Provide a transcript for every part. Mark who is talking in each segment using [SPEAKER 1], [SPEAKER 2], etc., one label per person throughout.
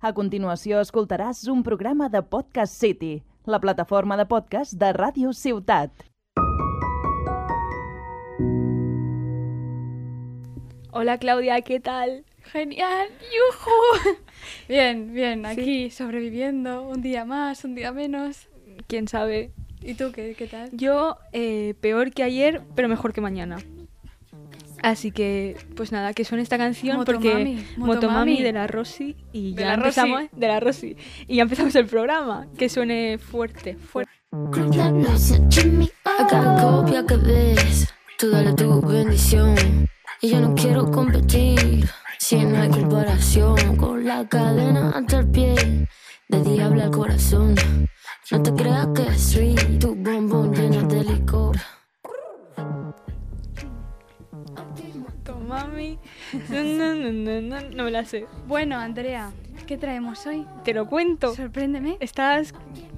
[SPEAKER 1] A continuació escoltaràs un programa de Podcast City, la plataforma de podcast de Ràdio Ciutat.
[SPEAKER 2] Hola Claudia, ¿qué tal?
[SPEAKER 3] Genial, yujú.
[SPEAKER 2] Bien, bien, aquí sobreviviendo, un día más, un día menos.
[SPEAKER 3] ¿Quién sabe?
[SPEAKER 2] ¿Y tú qué, qué tal?
[SPEAKER 3] Yo eh, peor que ayer, pero mejor que mañana. Así que, pues nada, que suene esta canción
[SPEAKER 2] Motomami,
[SPEAKER 3] porque
[SPEAKER 2] Motomami.
[SPEAKER 3] Motomami de la Rosy y
[SPEAKER 2] De
[SPEAKER 3] ya
[SPEAKER 2] la Rosy.
[SPEAKER 3] empezamos de la Rosy y ya empezamos el programa, que suene fuerte, fuerte.
[SPEAKER 4] Come get lost and trip me up. I got a copia que ves. Tú dale tu bendición. Y yo no quiero competir. Si no hay comparación con la cadena hasta el pie. De diablo al corazón. No te creas que es sweet. Tu bombón lleno de licor.
[SPEAKER 3] Motomami. No, no, no, no, no, no me la sé.
[SPEAKER 2] Bueno, Andrea, ¿qué traemos hoy?
[SPEAKER 3] Te lo cuento.
[SPEAKER 2] Sorpréndeme.
[SPEAKER 3] ¿Estás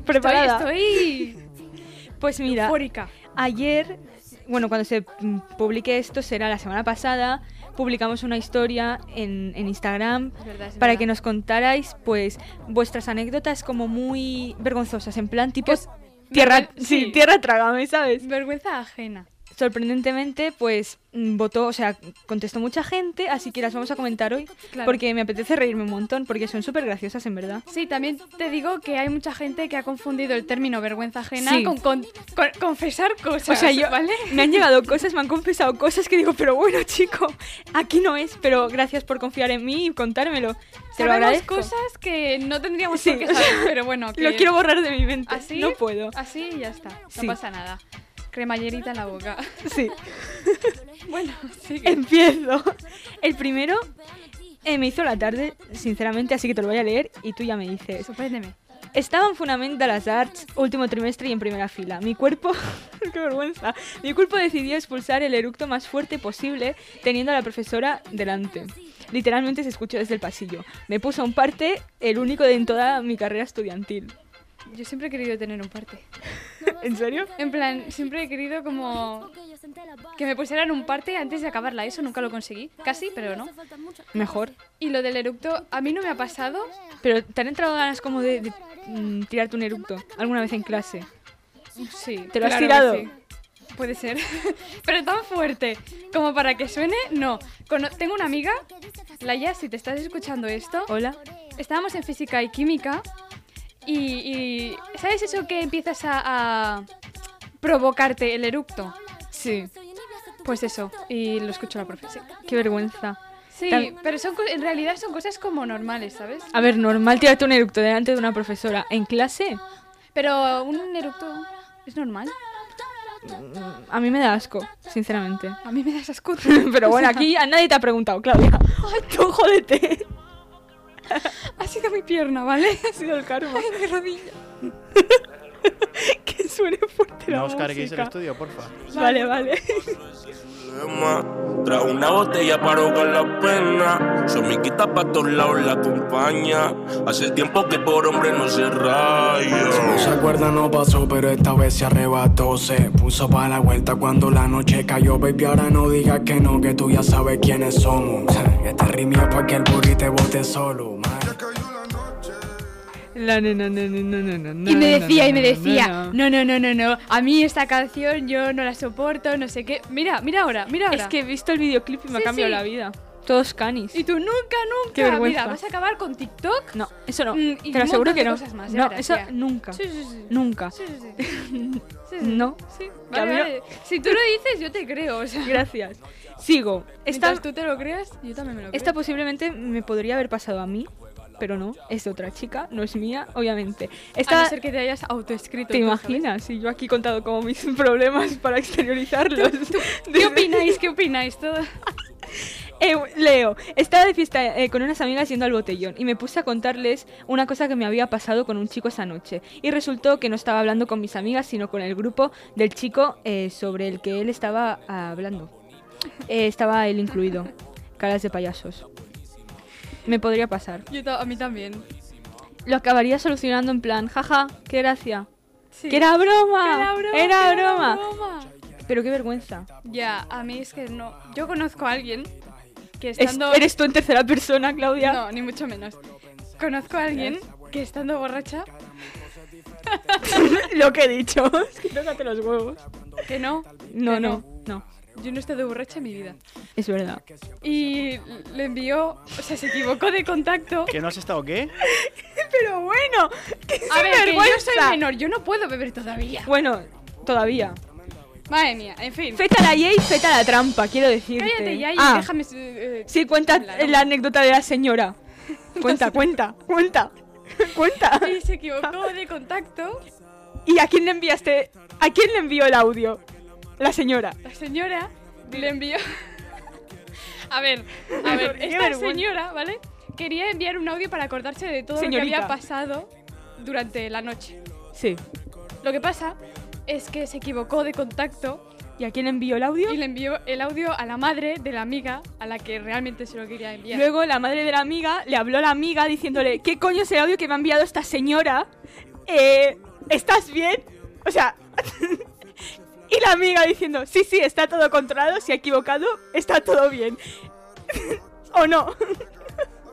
[SPEAKER 3] preparada?
[SPEAKER 2] Estoy,
[SPEAKER 3] Pues
[SPEAKER 2] estoy
[SPEAKER 3] mira,
[SPEAKER 2] eufórica.
[SPEAKER 3] Ayer, bueno, cuando se mm, publique esto, será la semana pasada, publicamos una historia en, en Instagram
[SPEAKER 2] Es verdad, es
[SPEAKER 3] para
[SPEAKER 2] verdad.
[SPEAKER 3] que nos contarais, pues, vuestras anécdotas como muy vergonzosas, en plan tipo...
[SPEAKER 2] Que-
[SPEAKER 3] Tierra,
[SPEAKER 2] vergüen-
[SPEAKER 3] sí,
[SPEAKER 2] sí.
[SPEAKER 3] tierra trágame, ¿sabes?
[SPEAKER 2] Vergüenza ajena.
[SPEAKER 3] Sorprendentemente, pues, mm, votó, o sea, contestó mucha gente, así que las vamos a comentar hoy,
[SPEAKER 2] Claro.
[SPEAKER 3] porque me apetece reírme un montón, porque son súper graciosas, en verdad.
[SPEAKER 2] Sí, también te digo que hay mucha gente que ha confundido el término vergüenza ajena
[SPEAKER 3] Sí.
[SPEAKER 2] con, con- con confesar
[SPEAKER 3] O
[SPEAKER 2] cosas.
[SPEAKER 3] sea, yo,
[SPEAKER 2] ¿vale?
[SPEAKER 3] me han llegado cosas, me han confesado cosas que digo, pero bueno, chico, aquí no es, pero gracias por confiar en mí y contármelo. Te lo
[SPEAKER 2] Sabemos
[SPEAKER 3] agradezco.
[SPEAKER 2] cosas que no tendríamos
[SPEAKER 3] Sí,
[SPEAKER 2] por
[SPEAKER 3] o
[SPEAKER 2] qué
[SPEAKER 3] sea,
[SPEAKER 2] saber, pero bueno. que- ¿Ah,
[SPEAKER 3] Lo quiero borrar de mi mente.
[SPEAKER 2] ¿Así?
[SPEAKER 3] No puedo.
[SPEAKER 2] Así y ya está. No
[SPEAKER 3] Sí.
[SPEAKER 2] pasa nada. Cremallerita en la boca.
[SPEAKER 3] Sí.
[SPEAKER 2] bueno, sigue.
[SPEAKER 3] Empiezo. El primero eh, me hizo la tarde, sinceramente, así que te lo voy a leer y tú ya me dices.
[SPEAKER 2] Sorpréndeme.
[SPEAKER 3] Estaba en Fundamental las Arts, último trimestre y en primera fila. Mi cuerpo. ¡Qué vergüenza! Mi cuerpo decidió expulsar el eructo más fuerte posible, teniendo a la profesora delante. Literalmente se escuchó desde el pasillo. Me puso un parte, el único de en toda mi carrera estudiantil.
[SPEAKER 2] Yo siempre he querido tener un parte.
[SPEAKER 3] ¿En serio?
[SPEAKER 2] En plan, siempre he querido como que me pusieran un parte antes de acabarla. Eso nunca lo conseguí. Casi, pero no.
[SPEAKER 3] Mejor.
[SPEAKER 2] Y lo del eructo a mí no me ha pasado.
[SPEAKER 3] Pero ¿te han entrado ganas como de, de, mm, tirarte un eructo alguna vez en clase?
[SPEAKER 2] Sí.
[SPEAKER 3] ¿Te lo has
[SPEAKER 2] claro
[SPEAKER 3] tirado?
[SPEAKER 2] que sí. Puede ser. pero tan fuerte como para que suene, no. Cono- tengo una amiga, Laia, si te estás escuchando esto,
[SPEAKER 3] Hola.
[SPEAKER 2] estábamos en física y química y, y- ¿sabes eso que empiezas a, a provocarte el eructo?
[SPEAKER 3] Sí.
[SPEAKER 2] Pues eso, y lo escucho la profe. Sí,
[SPEAKER 3] Qué vergüenza.
[SPEAKER 2] Sí,
[SPEAKER 3] Tam-
[SPEAKER 2] pero son, co- en realidad son cosas como normales, ¿sabes?
[SPEAKER 3] A ver, normal tirarte un eructo delante de una profesora. ¿En clase?
[SPEAKER 2] Pero un eructo es normal.
[SPEAKER 3] A mí me da asco, sinceramente.
[SPEAKER 2] A mí me das asco.
[SPEAKER 3] Pero bueno, aquí a nadie te ha preguntado, Claudia. Ay, tú jódete.
[SPEAKER 2] Ha sido mi pierna, ¿vale?
[SPEAKER 3] Ha sido el karma. mi rodilla. que suene fuerte la
[SPEAKER 5] No os carguéis el
[SPEAKER 3] música.
[SPEAKER 5] estudio, porfa.
[SPEAKER 3] Vale, vale.
[SPEAKER 6] problema. Tras una botella paro con la pena. Su amiguita pa' todos lados la acompaña. Hace tiempo que por hombre no se
[SPEAKER 7] Si no se
[SPEAKER 6] raya.
[SPEAKER 7] acuerda no pasó, pero esta vez se arrebató Se puso pa' la vuelta cuando la noche cayó Baby, ahora no digas que no, que tú ya sabes quiénes somos Este ritmo es pa' que el burri te bote solo, man.
[SPEAKER 3] No, no, no, no, no, no, no, no.
[SPEAKER 2] Y me
[SPEAKER 3] no,
[SPEAKER 2] decía,
[SPEAKER 3] no,
[SPEAKER 2] y me
[SPEAKER 3] no,
[SPEAKER 2] decía,
[SPEAKER 3] no, no.
[SPEAKER 2] no, no, no, no, no, a mí esta canción yo no la soporto, no sé qué. Mira, mira ahora, mira ahora.
[SPEAKER 3] Es que he visto el videoclip y me ha
[SPEAKER 2] Sí,
[SPEAKER 3] cambiado
[SPEAKER 2] sí.
[SPEAKER 3] la vida. Todos canis.
[SPEAKER 2] Y tú nunca, nunca.
[SPEAKER 3] Qué vergüenza.
[SPEAKER 2] Mira, vas a acabar con TikTok.
[SPEAKER 3] No, eso no.
[SPEAKER 2] Mm, y
[SPEAKER 3] Te
[SPEAKER 2] un
[SPEAKER 3] lo aseguro
[SPEAKER 2] montón
[SPEAKER 3] que
[SPEAKER 2] de
[SPEAKER 3] no.
[SPEAKER 2] cosas más, ya
[SPEAKER 3] no,
[SPEAKER 2] verás,
[SPEAKER 3] eso
[SPEAKER 2] ya.
[SPEAKER 3] nunca.
[SPEAKER 2] Sí, sí, sí.
[SPEAKER 3] Nunca.
[SPEAKER 2] Sí, sí, sí. Sí, sí.
[SPEAKER 3] No.
[SPEAKER 2] Sí,
[SPEAKER 3] Que a
[SPEAKER 2] vale,
[SPEAKER 3] mí no-
[SPEAKER 2] vale. Si tú lo dices, yo te creo. O sea,
[SPEAKER 3] Gracias. Sigo. Esta,
[SPEAKER 2] mientras tú te lo creas, yo también me lo creo.
[SPEAKER 3] Esta posiblemente me podría haber pasado a mí, pero no, es de otra chica, no es mía, obviamente.
[SPEAKER 2] A
[SPEAKER 3] Esta,
[SPEAKER 2] Ah, no ser que te hayas autoescrito.
[SPEAKER 3] ¿Te
[SPEAKER 2] tú, ¿sabes?
[SPEAKER 3] imaginas? Y yo aquí he contado como mis problemas para exteriorizarlos.
[SPEAKER 2] ¿Qué opináis? ¿Qué opináis? Todo.
[SPEAKER 3] Eh, Leo, estaba de fiesta eh, con unas amigas yendo al botellón y me puse a contarles una cosa que me había pasado con un chico esa noche. Y resultó que no estaba hablando con mis amigas, sino con el grupo del chico eh, sobre el que él estaba ah, hablando. Eh, estaba él incluido. Caras de payasos. Me podría pasar.
[SPEAKER 2] Yo ta- a mí también.
[SPEAKER 3] Lo acabaría solucionando en plan, jaja, qué gracia.
[SPEAKER 2] Sí.
[SPEAKER 3] Que era broma.
[SPEAKER 2] Era broma.
[SPEAKER 3] Era
[SPEAKER 2] que era
[SPEAKER 3] broma.
[SPEAKER 2] broma.
[SPEAKER 3] Pero qué vergüenza.
[SPEAKER 2] Ya, a mí es que no. Yo conozco a alguien que
[SPEAKER 3] Es-
[SPEAKER 2] estando.
[SPEAKER 3] eres tú en tercera persona, Claudia.
[SPEAKER 2] No, ni mucho menos. Conozco a alguien que estando borracha,
[SPEAKER 3] Lo que he dicho. Es que tócate los huevos.
[SPEAKER 2] que no,
[SPEAKER 3] No,
[SPEAKER 2] que
[SPEAKER 3] no, no.
[SPEAKER 2] Yo no he estado borracha en mi vida.
[SPEAKER 3] Es verdad.
[SPEAKER 2] Y le envió, o sea, se equivocó de contacto.
[SPEAKER 5] ¿Que no has estado qué?
[SPEAKER 3] Pero bueno,
[SPEAKER 2] A ver, que yo soy
[SPEAKER 3] sinvergüenza.
[SPEAKER 2] menor, yo no puedo beber todavía.
[SPEAKER 3] Bueno, todavía.
[SPEAKER 2] Madre mía, en fin.
[SPEAKER 3] Feta la Yay, feta la trampa, quiero decirte.
[SPEAKER 2] Cállate ya y
[SPEAKER 3] Ah,
[SPEAKER 2] déjame. eh, eh,
[SPEAKER 3] Sí, cuenta
[SPEAKER 2] hablar.
[SPEAKER 3] la anécdota de la señora. Cuenta, cuenta, cuenta, cuenta.
[SPEAKER 2] Y se equivocó de contacto.
[SPEAKER 3] ¿Y a quién le enviaste? ¿A quién le envió el audio? La señora.
[SPEAKER 2] La señora le envió. A ver, a ver,
[SPEAKER 3] Qué
[SPEAKER 2] esta
[SPEAKER 3] vergüenza.
[SPEAKER 2] señora, ¿vale? Quería enviar un audio para acordarse de todo lo que
[SPEAKER 3] Señorita.
[SPEAKER 2] había pasado durante la noche.
[SPEAKER 3] Sí.
[SPEAKER 2] Lo que pasa es que se equivocó de contacto
[SPEAKER 3] ¿Y a quién le envió el audio?
[SPEAKER 2] y le envió el audio a la madre de la amiga a la que realmente se lo quería enviar.
[SPEAKER 3] Luego la madre de la amiga le habló a la amiga diciéndole, ¿qué coño es el audio que me ha enviado esta señora? Eh, ¿Estás bien? O sea... y la amiga diciendo, sí, sí, está todo controlado, si ha equivocado, está todo bien. ¿O no?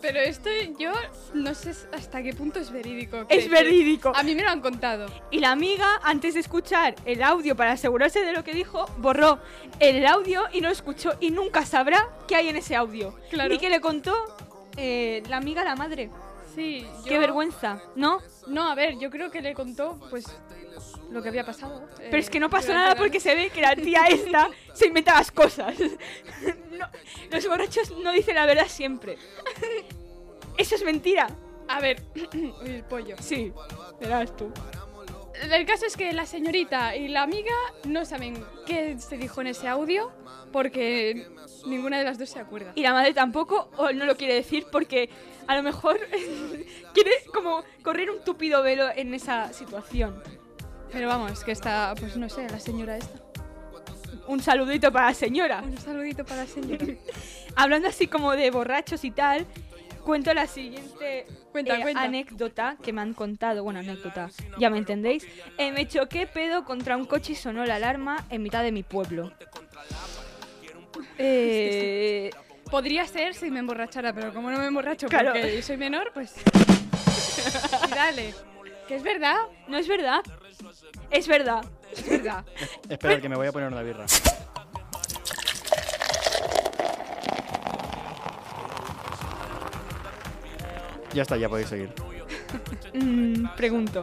[SPEAKER 2] Pero esto yo no sé hasta qué punto es verídico. que-
[SPEAKER 3] es verídico.
[SPEAKER 2] A mí me lo han contado.
[SPEAKER 3] Y la amiga, antes de escuchar el audio para asegurarse de lo que dijo, borró el audio y no lo escuchó y nunca sabrá qué hay en ese audio.
[SPEAKER 2] Claro.
[SPEAKER 3] Y que le contó eh, la amiga a la madre.
[SPEAKER 2] Sí, yo...
[SPEAKER 3] Qué vergüenza, ¿no?
[SPEAKER 2] No, a ver, yo creo que le contó, pues, lo que había pasado. eh,
[SPEAKER 3] Pero es que no pasó nada porque se ve que la tía esta se inventa las cosas. No, los borrachos no dicen la verdad siempre. Eso es mentira.
[SPEAKER 2] A ver, uy, el pollo.
[SPEAKER 3] Sí, verás tú.
[SPEAKER 2] El caso es que la señorita y la amiga no saben qué se dijo en ese audio porque ninguna de las dos se acuerda.
[SPEAKER 3] Y la madre tampoco, o no lo quiere decir porque a lo mejor quiere como correr un tupido velo en esa situación.
[SPEAKER 2] Pero vamos, que está, pues no sé, la señora esta.
[SPEAKER 3] Un saludito para la señora.
[SPEAKER 2] Un saludito para la señora.
[SPEAKER 3] Hablando así como de borrachos y tal, cuento la siguiente Eh,
[SPEAKER 2] Cuenta, cuenta.
[SPEAKER 3] anécdota que me han contado. Bueno, anécdota, ya me entendéis. Eh, me choqué pedo contra un coche y sonó la alarma en mitad de mi pueblo. Eh,
[SPEAKER 2] Podría ser si me emborrachara, pero como no me emborracho
[SPEAKER 3] Claro.
[SPEAKER 2] porque soy menor, pues... y dale. Que es verdad,
[SPEAKER 3] no es verdad. Es verdad.
[SPEAKER 2] es verdad.
[SPEAKER 5] Espera, que me voy a poner una birra. Ya está, ya podéis seguir.
[SPEAKER 3] Mm, pregunto.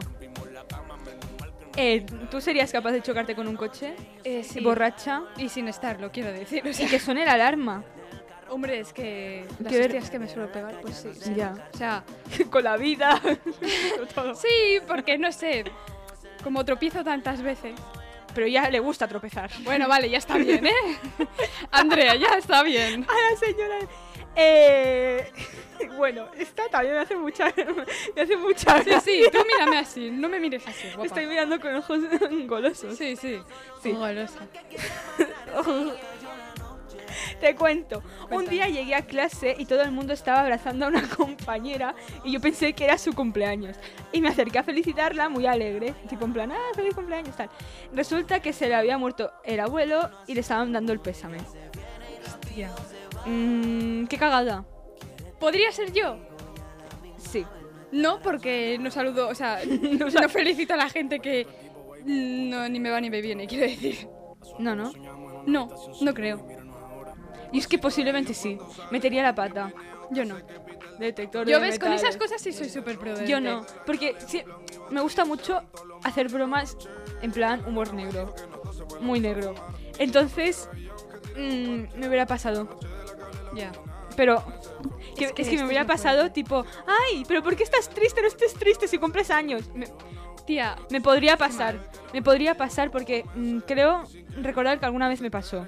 [SPEAKER 3] Eh, ¿Tú serías capaz de chocarte con un coche?
[SPEAKER 2] Eh, sí.
[SPEAKER 3] Borracha.
[SPEAKER 2] Y sin estarlo, quiero decir. O
[SPEAKER 3] Y
[SPEAKER 2] sea,
[SPEAKER 3] que suene la alarma.
[SPEAKER 2] hombre, es que las
[SPEAKER 3] Qué ver-
[SPEAKER 2] hostias que me suelo pegar, pues sí. sí.
[SPEAKER 3] Ya.
[SPEAKER 2] O sea,
[SPEAKER 3] con la vida.
[SPEAKER 2] sí, porque no sé, como tropiezo tantas veces.
[SPEAKER 3] Pero ya le gusta tropezar.
[SPEAKER 2] Bueno, vale, ya está bien, ¿eh? Andrea, ya está bien.
[SPEAKER 3] A la señora. Eh, bueno, esta también me hace mucha. Me hace mucha.
[SPEAKER 2] Sí, sí, tú mírame así, no me mires así, guapa.
[SPEAKER 3] Estoy mirando con ojos golosos.
[SPEAKER 2] Sí, sí.
[SPEAKER 3] Sí.
[SPEAKER 2] Golosa.
[SPEAKER 3] Te cuento. Un
[SPEAKER 2] Cuéntame.
[SPEAKER 3] día llegué a clase y todo el mundo estaba abrazando a una compañera y yo pensé que era su cumpleaños. Y me acerqué a felicitarla muy alegre, tipo en plan, ah, feliz cumpleaños, tal. Resulta que se le había muerto el abuelo y le estaban dando el pésame.
[SPEAKER 2] Hostia. Mm,
[SPEAKER 3] Mmm, qué cagada.
[SPEAKER 2] ¿Podría ser yo?
[SPEAKER 3] Sí.
[SPEAKER 2] No, porque no saludo, o sea, no, felicito a la gente que no, ni me va ni me viene, quiero decir.
[SPEAKER 3] No, no.
[SPEAKER 2] No, no creo.
[SPEAKER 3] Y es que posiblemente sí. Metería la pata.
[SPEAKER 2] Yo no.
[SPEAKER 3] Detector
[SPEAKER 2] Yo
[SPEAKER 3] de
[SPEAKER 2] ves, con
[SPEAKER 3] metales.
[SPEAKER 2] esas cosas sí soy súper prudente.
[SPEAKER 3] Yo no, porque sí, me gusta mucho hacer bromas en plan humor negro, muy negro. Entonces, mm, me hubiera pasado,
[SPEAKER 2] Ya.
[SPEAKER 3] pero que-
[SPEAKER 2] Es
[SPEAKER 3] es
[SPEAKER 2] que
[SPEAKER 3] que,
[SPEAKER 2] esto
[SPEAKER 3] me
[SPEAKER 2] no
[SPEAKER 3] hubiera
[SPEAKER 2] puede.
[SPEAKER 3] pasado tipo, ay, pero ¿por qué estás triste? No estés triste si cumples años. Me,
[SPEAKER 2] Tía,
[SPEAKER 3] me podría pasar, me podría pasar porque mm, creo recordar que alguna vez me pasó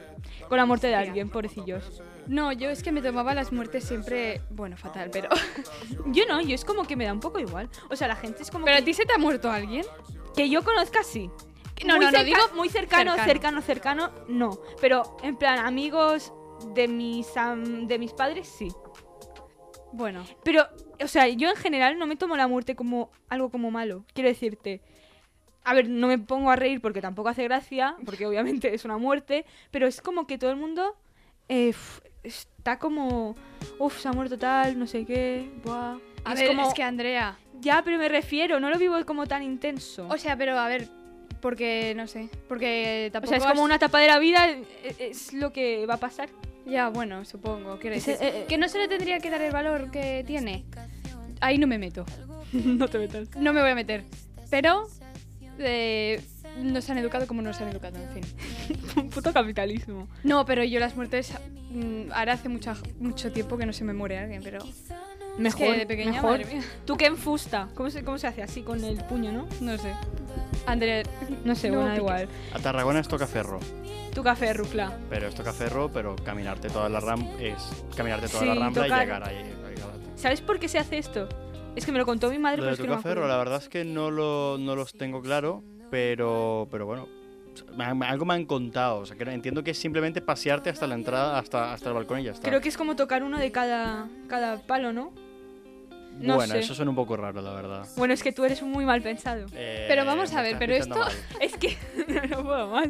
[SPEAKER 3] con la muerte de
[SPEAKER 2] Tía.
[SPEAKER 3] alguien, pobrecillos.
[SPEAKER 2] no, yo es que me tomaba las muertes siempre, bueno, fatal, pero...
[SPEAKER 3] Yo no, yo es como que me da un poco igual. O sea, la gente es como
[SPEAKER 2] ¿Pero a
[SPEAKER 3] que,
[SPEAKER 2] ti se te ha muerto alguien?
[SPEAKER 3] que yo conozca sí.
[SPEAKER 2] No,
[SPEAKER 3] muy
[SPEAKER 2] no, no,
[SPEAKER 3] cerca-
[SPEAKER 2] digo
[SPEAKER 3] muy cercano,
[SPEAKER 2] cercano.
[SPEAKER 3] cercano, cercano, no. Pero en plan, amigos de mis, am- de mis padres, sí.
[SPEAKER 2] Bueno,
[SPEAKER 3] Pero, o sea, yo en general no me tomo la muerte como algo como malo. Quiero decirte. A ver, no me pongo a reír porque tampoco hace gracia, porque obviamente es una muerte, pero es como que todo el mundo eh, f- está como, uff, se ha muerto tal, no sé qué, buah. Y
[SPEAKER 2] A
[SPEAKER 3] es
[SPEAKER 2] ver,
[SPEAKER 3] como-
[SPEAKER 2] es que Andrea.
[SPEAKER 3] Ya, pero me refiero, no lo vivo como tan intenso.
[SPEAKER 2] O sea, pero a ver, porque no sé. Porque
[SPEAKER 3] O
[SPEAKER 2] tampoco.
[SPEAKER 3] sea, es
[SPEAKER 2] has-
[SPEAKER 3] como una etapa de la vida, e- e- es lo que va a pasar.
[SPEAKER 2] Ya, bueno, supongo. Quiero
[SPEAKER 3] Es-
[SPEAKER 2] decir.
[SPEAKER 3] eh, eh.
[SPEAKER 2] Que no se le tendría que dar el valor que tiene. Ahí no me meto.
[SPEAKER 3] no te metas.
[SPEAKER 2] No me voy a meter. Pero. eh, nos han educado como nos han educado, en fin.
[SPEAKER 3] Puto capitalismo.
[SPEAKER 2] No, pero yo las muertes. mm, ahora hace mucha- mucho tiempo que no se me muere alguien, pero.
[SPEAKER 3] Mejor,
[SPEAKER 2] es que de pequeña,
[SPEAKER 3] mejor.
[SPEAKER 2] madre mía.
[SPEAKER 3] ¿Tú qué enfusta? ¿Cómo se, ¿Cómo se hace? Así, con el puño, ¿no?
[SPEAKER 2] No sé. Andrea.
[SPEAKER 3] No sé,
[SPEAKER 2] No
[SPEAKER 3] bueno, da
[SPEAKER 2] piques.
[SPEAKER 3] igual.
[SPEAKER 5] A Tarragona es tocaferro,
[SPEAKER 3] Tu café, Rucla.
[SPEAKER 5] pero es tocaferro, pero caminarte toda la ram es caminarte toda
[SPEAKER 3] Sí,
[SPEAKER 5] la rambla
[SPEAKER 3] tocar-
[SPEAKER 5] y llegar ahí. ahí a la-
[SPEAKER 3] ¿Sabes por qué se hace esto? Es que me lo contó mi madre,
[SPEAKER 5] Lo
[SPEAKER 3] pero
[SPEAKER 5] de
[SPEAKER 3] es que no me
[SPEAKER 5] tocaferro,
[SPEAKER 3] acuerdo.
[SPEAKER 5] la verdad es que no, lo, no los tengo claro, pero, pero bueno, me han- algo me han contado. O sea, que entiendo que es simplemente pasearte hasta la entrada, hasta, hasta el balcón y ya está.
[SPEAKER 3] Creo que es como tocar uno de cada, cada palo, ¿no? no
[SPEAKER 5] bueno,
[SPEAKER 3] sé.
[SPEAKER 5] eso suena un poco raro, la verdad.
[SPEAKER 3] Bueno, es que tú eres muy mal pensado.
[SPEAKER 5] Eh,
[SPEAKER 2] Pero vamos
[SPEAKER 5] me
[SPEAKER 2] a ver,
[SPEAKER 5] estás
[SPEAKER 2] pero
[SPEAKER 5] pinchando
[SPEAKER 2] esto-
[SPEAKER 5] mal.
[SPEAKER 3] Es que no, no puedo más.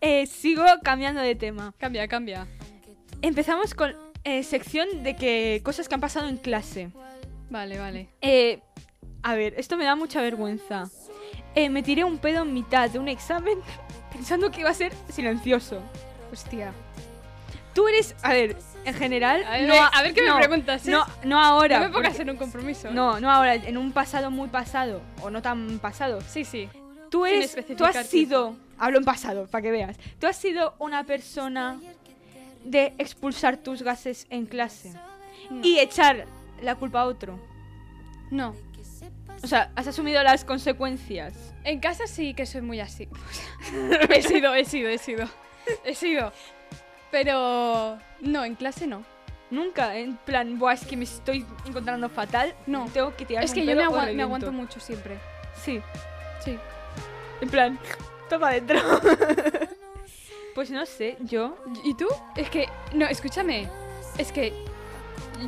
[SPEAKER 3] Eh, sigo cambiando de tema.
[SPEAKER 2] Cambia, cambia.
[SPEAKER 3] Empezamos con eh, sección de que cosas que han pasado en clase.
[SPEAKER 2] Vale, vale.
[SPEAKER 3] Eh, a ver, esto me da mucha vergüenza. Eh, me tiré un pedo en mitad de un examen pensando que iba a ser silencioso.
[SPEAKER 2] Hostia.
[SPEAKER 3] Tú eres, a ver, en general,
[SPEAKER 2] A ver,
[SPEAKER 3] no,
[SPEAKER 2] a ver qué me
[SPEAKER 3] no,
[SPEAKER 2] preguntas, ¿eh?
[SPEAKER 3] No, no ahora.
[SPEAKER 2] No me pongas
[SPEAKER 3] porque-
[SPEAKER 2] en un compromiso. ¿eh?
[SPEAKER 3] no, no ahora, en un pasado muy pasado o no tan pasado.
[SPEAKER 2] Sí, sí.
[SPEAKER 3] Tú
[SPEAKER 2] Sin
[SPEAKER 3] eres, tú
[SPEAKER 2] especificar
[SPEAKER 3] has sido, hablo en pasado para que veas. Tú has sido una persona de expulsar tus gases en clase
[SPEAKER 2] No.
[SPEAKER 3] y echar la culpa a otro.
[SPEAKER 2] No.
[SPEAKER 3] O sea, has asumido las consecuencias.
[SPEAKER 2] En casa sí que soy muy así. he sido, he sido, he sido. He sido. Pero no, en clase no.
[SPEAKER 3] Nunca, en plan, Buah, es que me estoy encontrando fatal.
[SPEAKER 2] No.
[SPEAKER 3] Tengo que tirar
[SPEAKER 2] Es que yo me, agua- me aguanto mucho siempre.
[SPEAKER 3] Sí,
[SPEAKER 2] Sí.
[SPEAKER 3] en plan, toma adentro. pues no sé, yo.
[SPEAKER 2] ¿Y tú? Es que, no, escúchame. Es que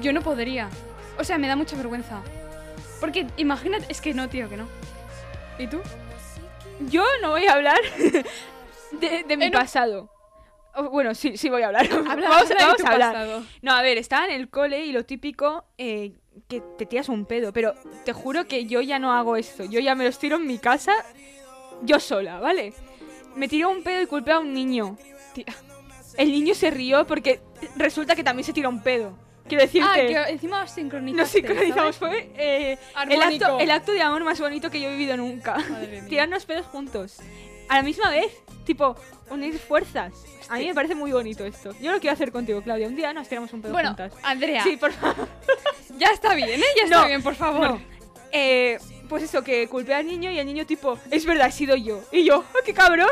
[SPEAKER 2] yo no podría. O sea, me da mucha vergüenza. Porque imagínate, es que no, tío, que no. ¿Y tú?
[SPEAKER 3] Yo no voy a hablar de, de mi
[SPEAKER 2] En un-
[SPEAKER 3] pasado. O, bueno, sí, sí voy a hablar.
[SPEAKER 2] Eh, Habla,
[SPEAKER 3] vamos a-
[SPEAKER 2] habla de
[SPEAKER 3] vamos
[SPEAKER 2] tu
[SPEAKER 3] a hablar.
[SPEAKER 2] pasado.
[SPEAKER 3] No, a ver, estaba en el cole y lo típico eh, que te tiras un pedo, pero te juro que yo ya no hago esto. Yo ya me los tiro en mi casa, yo sola, ¿vale? Me tiró un pedo y culpé a un niño. Tía, El niño se rió porque resulta que también se tiró un pedo. Quiero decirte,
[SPEAKER 2] Ah, que encima os sincronizamos.
[SPEAKER 3] nos sincronizamos. Fue eh, el, acto,
[SPEAKER 2] Armónico.
[SPEAKER 3] el acto de amor más bonito que yo he vivido nunca.
[SPEAKER 2] Madre mía.
[SPEAKER 3] Tirarnos pedos juntos. A la misma vez, tipo, unir fuerzas. A mí me parece muy bonito esto. Yo lo quiero hacer contigo, Claudia. Un día nos tiramos un pedo
[SPEAKER 2] Bueno,
[SPEAKER 3] juntas.
[SPEAKER 2] Andrea,
[SPEAKER 3] Sí, por favor.
[SPEAKER 2] ya está bien, ¿eh? Ya está
[SPEAKER 3] No,
[SPEAKER 2] bien, por favor.
[SPEAKER 3] No. Eh, pues eso, que culpé al niño y el niño tipo, es verdad, he sido yo. Y yo, "Ah, qué cabrón!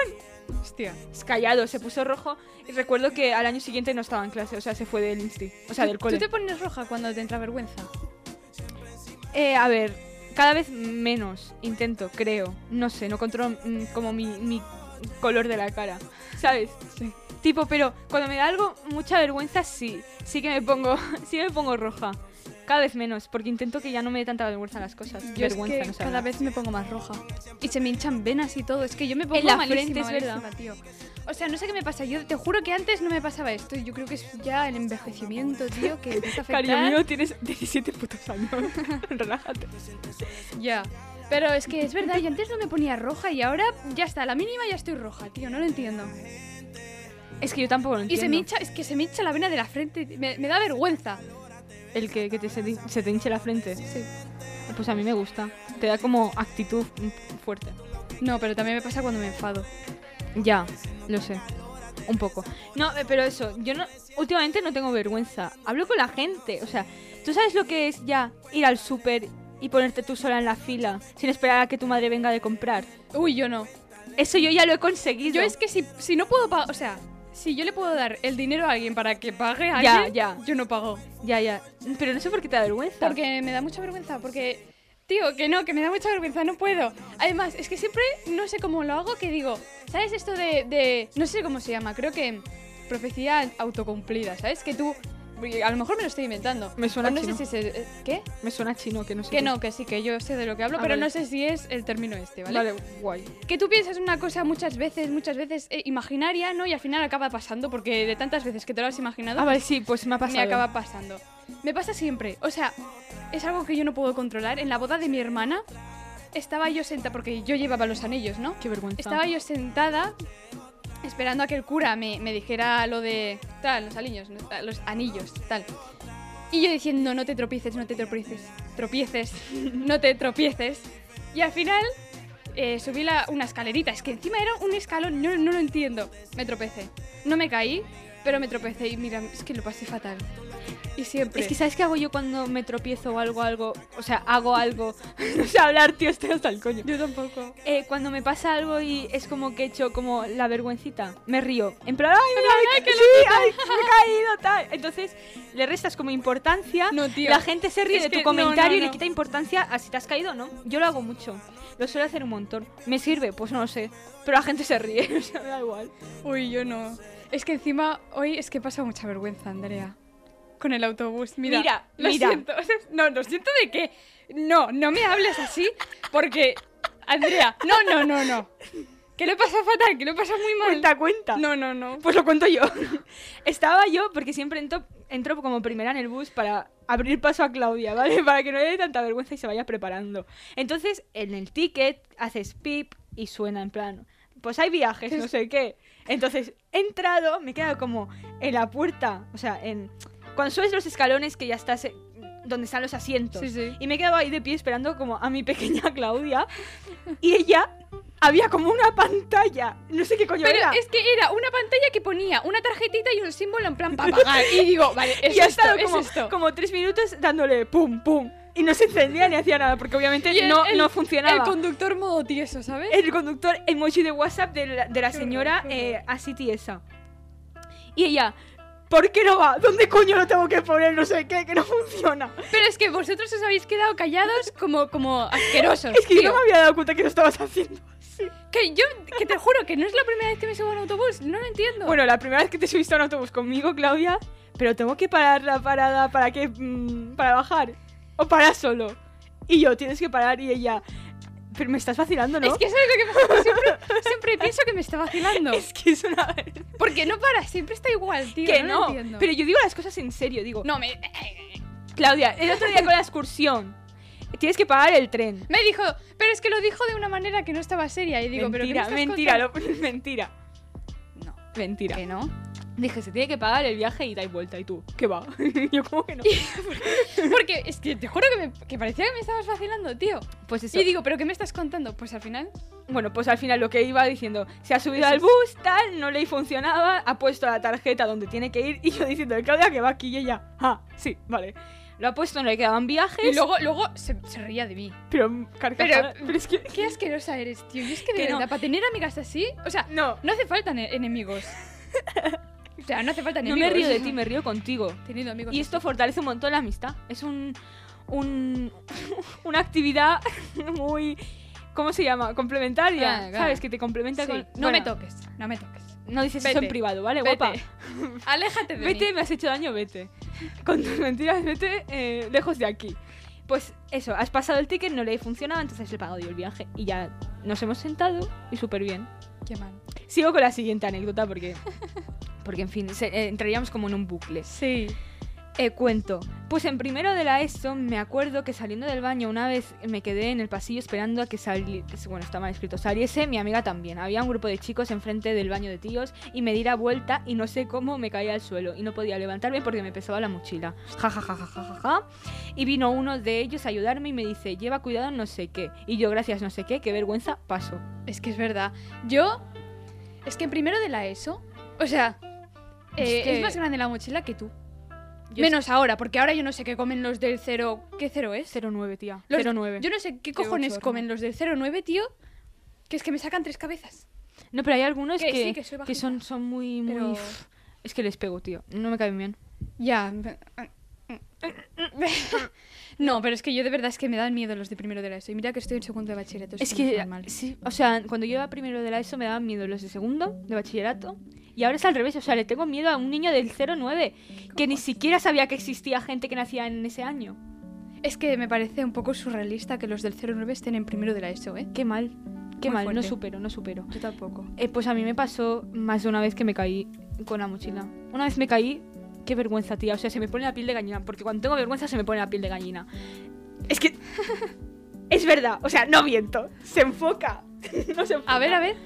[SPEAKER 2] Hostia.
[SPEAKER 3] Es Callado, se puso rojo. Y recuerdo que al año siguiente no estaba en clase, o sea, se fue del insti. O sea, del
[SPEAKER 2] ¿Tú
[SPEAKER 3] cole.
[SPEAKER 2] te pones roja cuando te entra vergüenza?
[SPEAKER 3] Eh, a ver, cada vez menos intento, creo. No sé, no controlo mm, como mi, mi color de la cara, ¿sabes?
[SPEAKER 2] Sí.
[SPEAKER 3] Tipo, pero cuando me da algo, mucha vergüenza, sí. Sí que me pongo, sí que me pongo roja. Cada vez menos, porque intento que ya no me dé tanta vergüenza las cosas.
[SPEAKER 2] Yo es
[SPEAKER 3] vergüenza,
[SPEAKER 2] que
[SPEAKER 3] no sé
[SPEAKER 2] cada
[SPEAKER 3] hablar.
[SPEAKER 2] vez me pongo más roja. Y se me hinchan venas y todo. Es que yo me pongo
[SPEAKER 3] la frente,
[SPEAKER 2] malísima,
[SPEAKER 3] es verdad.
[SPEAKER 2] malísima, tío. O sea, no sé qué me pasa. Yo te juro que antes no me pasaba esto. Yo creo que es ya el envejecimiento, tío, que empieza a afectar.
[SPEAKER 3] Cariño mío, tienes 17 putos años. Relájate.
[SPEAKER 2] Ya. Pero es que es verdad, yo antes no me ponía roja y ahora ya está, a la mínima ya estoy roja, tío, no lo entiendo.
[SPEAKER 3] Es que yo tampoco lo
[SPEAKER 2] Y
[SPEAKER 3] entiendo.
[SPEAKER 2] se me hincha, es que se me hincha la vena de la frente, me, me da vergüenza.
[SPEAKER 3] El que, que te, se, te- se te hinche la frente.
[SPEAKER 2] Sí.
[SPEAKER 3] Pues a mí me gusta. Te da como actitud mm, fuerte.
[SPEAKER 2] No, pero también me pasa cuando me enfado.
[SPEAKER 3] Ya, lo sé. Un poco. No, eh, pero eso, yo no, últimamente no tengo vergüenza. Hablo con la gente. O sea, ¿tú sabes lo que es ya ir al súper y ponerte tú sola en la fila sin esperar a que tu madre venga de comprar?
[SPEAKER 2] Uy, yo no.
[SPEAKER 3] Eso yo ya lo he conseguido.
[SPEAKER 2] Yo es que si, si no puedo pagar, o sea, si yo le puedo dar el dinero a alguien para que pague a
[SPEAKER 3] Ya,
[SPEAKER 2] alguien,
[SPEAKER 3] ya.
[SPEAKER 2] yo no pago.
[SPEAKER 3] Ya, ya. Pero no sé por qué te da vergüenza.
[SPEAKER 2] Porque me da mucha vergüenza, porque, tío, que no, que me da mucha vergüenza, no puedo. Además, es que siempre no sé cómo lo hago, que digo, ¿sabes esto de, de- no sé cómo se llama, creo que profecía autocumplida, ¿sabes? Que tú, a lo mejor me lo estoy inventando.
[SPEAKER 3] Me suena
[SPEAKER 2] O no
[SPEAKER 3] chino.
[SPEAKER 2] sé si se, eh, ¿Qué?
[SPEAKER 3] me suena chino, que no sé.
[SPEAKER 2] Que
[SPEAKER 3] qué
[SPEAKER 2] no, que sí, que yo sé de lo que hablo,
[SPEAKER 3] Ah,
[SPEAKER 2] pero
[SPEAKER 3] vale.
[SPEAKER 2] no sé si es el término este,
[SPEAKER 3] es.
[SPEAKER 2] ¿vale?
[SPEAKER 3] Vale, guay.
[SPEAKER 2] Que tú piensas una cosa muchas veces, muchas veces eh, imaginaria, ¿no? Y al final acaba pasando porque de tantas veces que te lo has imaginado,
[SPEAKER 3] Ah, vale, sí, pues me ha
[SPEAKER 2] me
[SPEAKER 3] pasado.
[SPEAKER 2] acaba pasando. Me pasa siempre. O sea, es algo que yo no puedo controlar. En la boda de mi hermana estaba yo sentada, porque yo llevaba los anillos, ¿no?
[SPEAKER 3] Qué vergüenza.
[SPEAKER 2] Estaba yo sentada esperando a que el cura me, me dijera lo de tal, los anillos, ¿no? Ah, los anillos, tal. Y yo diciendo, no te tropieces, no te tropieces, tropieces, no te tropieces. Y al final eh, subí la- una escalerita, es que encima era un escalón, no, no lo entiendo. Me tropecé. No me caí, pero me tropecé y mira, es que lo pasé fatal. Y siempre...
[SPEAKER 3] Es que ¿sabes qué hago yo cuando me tropiezo o algo, algo? O sea, hago algo. no sé hablar, tío, estoy hasta el coño.
[SPEAKER 2] yo tampoco.
[SPEAKER 3] Eh, cuando me pasa algo y es como que he hecho como la vergüencita, me río. En plan, ay, mira, me, ca- sí, ay, me he caído, tal. Entonces le restas como importancia.
[SPEAKER 2] No, tío.
[SPEAKER 3] La gente se ríe
[SPEAKER 2] Es
[SPEAKER 3] de tu
[SPEAKER 2] que- no,
[SPEAKER 3] comentario
[SPEAKER 2] no,
[SPEAKER 3] y le
[SPEAKER 2] no.
[SPEAKER 3] quita importancia a si te has caído o no. Yo lo hago mucho. Lo suelo hacer un montón. ¿Me sirve? Pues no lo sé. Pero la gente se ríe, o sea, me da igual.
[SPEAKER 2] Uy, yo no. Es que encima hoy es que pasa mucha vergüenza, Andrea. Con el autobús. Mira,
[SPEAKER 3] Mira,
[SPEAKER 2] lo
[SPEAKER 3] mira.
[SPEAKER 2] siento. O sea, no, lo siento de que. No, no me hables así porque. Andrea, no, no, no, no. Que lo pasa fatal, que lo pasa muy mal.
[SPEAKER 3] Cuenta, cuenta.
[SPEAKER 2] No, no, no.
[SPEAKER 3] Pues lo cuento yo. Estaba yo, porque siempre entro, entro como primera en el bus para abrir paso a Claudia, ¿vale? Para que no le dé tanta vergüenza y se vaya preparando. Entonces, en el ticket haces pip y suena en plan, pues hay viajes, no sé qué. Entonces, he entrado, me he quedado como en la puerta, o sea, en... Cuando subes los escalones que ya estás... eh, donde están los asientos.
[SPEAKER 2] Sí, sí.
[SPEAKER 3] Y me he quedado ahí de pie esperando como a mi pequeña Claudia. Y ella había como una pantalla. No sé qué coño
[SPEAKER 2] Pero
[SPEAKER 3] era.
[SPEAKER 2] es que era una pantalla que ponía una tarjetita y un símbolo en plan para pagar. Y digo, vale, es
[SPEAKER 3] y ha
[SPEAKER 2] esto,
[SPEAKER 3] estado
[SPEAKER 2] es
[SPEAKER 3] como,
[SPEAKER 2] esto.
[SPEAKER 3] como tres minutos dándole pum, pum. Y no se encendía ni hacía nada, porque obviamente
[SPEAKER 2] Y el-
[SPEAKER 3] no,
[SPEAKER 2] el-
[SPEAKER 3] no funcionaba. Eh.
[SPEAKER 2] El conductor modo tieso, ¿sabes?
[SPEAKER 3] El conductor emoji de WhatsApp de la, de la
[SPEAKER 2] Qué
[SPEAKER 3] señora
[SPEAKER 2] horror, qué
[SPEAKER 3] eh, así tiesa. Y ella, ¿por qué no va? ¿Dónde coño lo tengo que poner? No sé qué, que no funciona.
[SPEAKER 2] Pero es que vosotros os habéis quedado callados como, como asquerosos.
[SPEAKER 3] Es que yo
[SPEAKER 2] tío.
[SPEAKER 3] no me había dado cuenta que lo estabas haciendo.
[SPEAKER 2] Que yo, que te juro que no es la primera vez que me subo a un autobús, no lo entiendo.
[SPEAKER 3] Bueno, la primera vez que te subiste a un autobús conmigo, Claudia, pero tengo que parar la parada para que mm, para bajar o parar solo. Y yo, tienes que parar y ella, pero me estás vacilando, ¿no?
[SPEAKER 2] es que sabes lo que pasa, que siempre, siempre pienso que me está vacilando.
[SPEAKER 3] Es que es una
[SPEAKER 2] Porque no para, siempre está igual, tío.
[SPEAKER 3] que
[SPEAKER 2] no, lo
[SPEAKER 3] no.
[SPEAKER 2] entiendo.
[SPEAKER 3] Pero yo digo las cosas en serio, digo.
[SPEAKER 2] No, me,
[SPEAKER 3] Claudia, el otro día con la excursión. Tienes que pagar el tren.
[SPEAKER 2] me dijo, pero es que lo dijo de una manera que no estaba seria. Y digo,
[SPEAKER 3] mentira,
[SPEAKER 2] pero ¿qué me estás
[SPEAKER 3] mentira,
[SPEAKER 2] contando?
[SPEAKER 3] lo- mentira.
[SPEAKER 2] No.
[SPEAKER 3] Mentira.
[SPEAKER 2] Que no.
[SPEAKER 3] Dije, se tiene que pagar el viaje y da y vuelta. ¿Y tú? ¿Qué va? yo como que no.
[SPEAKER 2] Porque es que te juro que, me, que parecía que me estabas vacilando, tío.
[SPEAKER 3] Pues eso.
[SPEAKER 2] Y digo, ¿pero qué me estás contando? Pues al final,
[SPEAKER 3] Bueno, pues al final lo que iba diciendo, se ha subido
[SPEAKER 2] Eso
[SPEAKER 3] al
[SPEAKER 2] es.
[SPEAKER 3] bus, tal, no le funcionaba, ha puesto la tarjeta donde tiene que ir y yo diciendo, Claudia, que va aquí y ella, ah, sí, vale. Lo ha puesto, no le quedaban viajes,
[SPEAKER 2] y luego, luego se, se reía de mí.
[SPEAKER 3] pero mm, carcajada.
[SPEAKER 2] Pero-
[SPEAKER 3] pero es que...
[SPEAKER 2] Qué asquerosa eres, tío. Y es que de
[SPEAKER 3] Que no.
[SPEAKER 2] verdad, para tener amigas así, o sea,
[SPEAKER 3] No,
[SPEAKER 2] No hace falta ne- enemigos. O sea, no hace falta
[SPEAKER 3] no
[SPEAKER 2] enemigos.
[SPEAKER 3] me río de ti, me río contigo.
[SPEAKER 2] Teniendo amigos.
[SPEAKER 3] Y esto fortalece un montón la amistad. Es un, un- una actividad muy, ¿cómo se llama? Complementaria.
[SPEAKER 2] Ah, claro.
[SPEAKER 3] ¿Sabes? Que te
[SPEAKER 2] Sí,
[SPEAKER 3] complementa con...
[SPEAKER 2] No me
[SPEAKER 3] Bueno,
[SPEAKER 2] toques, no me toques.
[SPEAKER 3] No dices eso
[SPEAKER 2] Vete,
[SPEAKER 3] en privado, ¿vale,
[SPEAKER 2] vete.
[SPEAKER 3] guapa?
[SPEAKER 2] Aléjate de
[SPEAKER 3] Vete,
[SPEAKER 2] mí.
[SPEAKER 3] me has hecho daño, vete. Con tus mentiras, vete eh, lejos de aquí. Pues eso, has pasado el ticket, no le funcionaba, entonces le he pagado yo el viaje y ya nos hemos sentado y súper bien.
[SPEAKER 2] Qué mal.
[SPEAKER 3] Sigo con la siguiente anécdota porque, porque en fin, se- eh, entraríamos como en un bucle.
[SPEAKER 2] Sí.
[SPEAKER 3] Eh, cuento. Pues en primero de la ESO me acuerdo que saliendo del baño una vez me quedé en el pasillo esperando a que saliese, bueno, está mal escrito, saliese mi amiga también. Había un grupo de chicos enfrente del baño de tíos y me di la vuelta y no sé cómo me caí al suelo y no podía levantarme porque me pesaba la mochila. Ja, ja, ja, ja, ja, ja, ja. Y vino uno de ellos a ayudarme y me dice, lleva cuidado no sé qué. Y yo, gracias no sé qué, qué vergüenza, paso.
[SPEAKER 2] Es que es verdad. Yo. Es que primero de la ESO. O sea. eh,
[SPEAKER 3] Es
[SPEAKER 2] es,
[SPEAKER 3] que-
[SPEAKER 2] más grande la mochila que tú.
[SPEAKER 3] Yo
[SPEAKER 2] Menos ahora, porque ahora yo no sé qué comen los del cero. ¿Qué cero es?
[SPEAKER 3] 09, tía.
[SPEAKER 2] Los-
[SPEAKER 3] 09.
[SPEAKER 2] Yo no sé qué
[SPEAKER 3] Qué
[SPEAKER 2] cojones
[SPEAKER 3] bochorno.
[SPEAKER 2] comen los del 09, tío. Que es que me sacan tres cabezas.
[SPEAKER 3] No, pero hay algunos
[SPEAKER 2] Que
[SPEAKER 3] que,
[SPEAKER 2] sí, que soy bajita.
[SPEAKER 3] son, son muy, muy...
[SPEAKER 2] Pero-
[SPEAKER 3] Es que les pego, tío. No me caen bien.
[SPEAKER 2] Ya. No, pero es que yo de verdad es que me dan miedo los de primero de la ESO. Y mira que estoy en segundo de bachillerato.
[SPEAKER 3] Es
[SPEAKER 2] eso no
[SPEAKER 3] que,
[SPEAKER 2] normal.
[SPEAKER 3] sí, o sea, cuando yo iba primero de la ESO me daban miedo los de segundo, de bachillerato, y ahora es al revés, o sea, le tengo miedo a un niño del 09, que ni siquiera sabía que existía gente que nacía en ese año.
[SPEAKER 2] Es que me parece un poco surrealista que los del 09 estén en primero de la ESO, ¿eh?
[SPEAKER 3] Qué mal, qué
[SPEAKER 2] Muy
[SPEAKER 3] mal, no
[SPEAKER 2] fuerte.
[SPEAKER 3] supero, no supero.
[SPEAKER 2] Yo tampoco.
[SPEAKER 3] Eh, pues a mí me pasó más de una vez que me caí con la mochila. Una vez me caí Qué vergüenza, tía. O sea, se me pone la piel de gallina. Porque cuando tengo vergüenza se me pone la piel de gallina. Es que. es verdad. O sea, no miento. Se enfoca. no se enfoca.
[SPEAKER 2] A ver, a ver.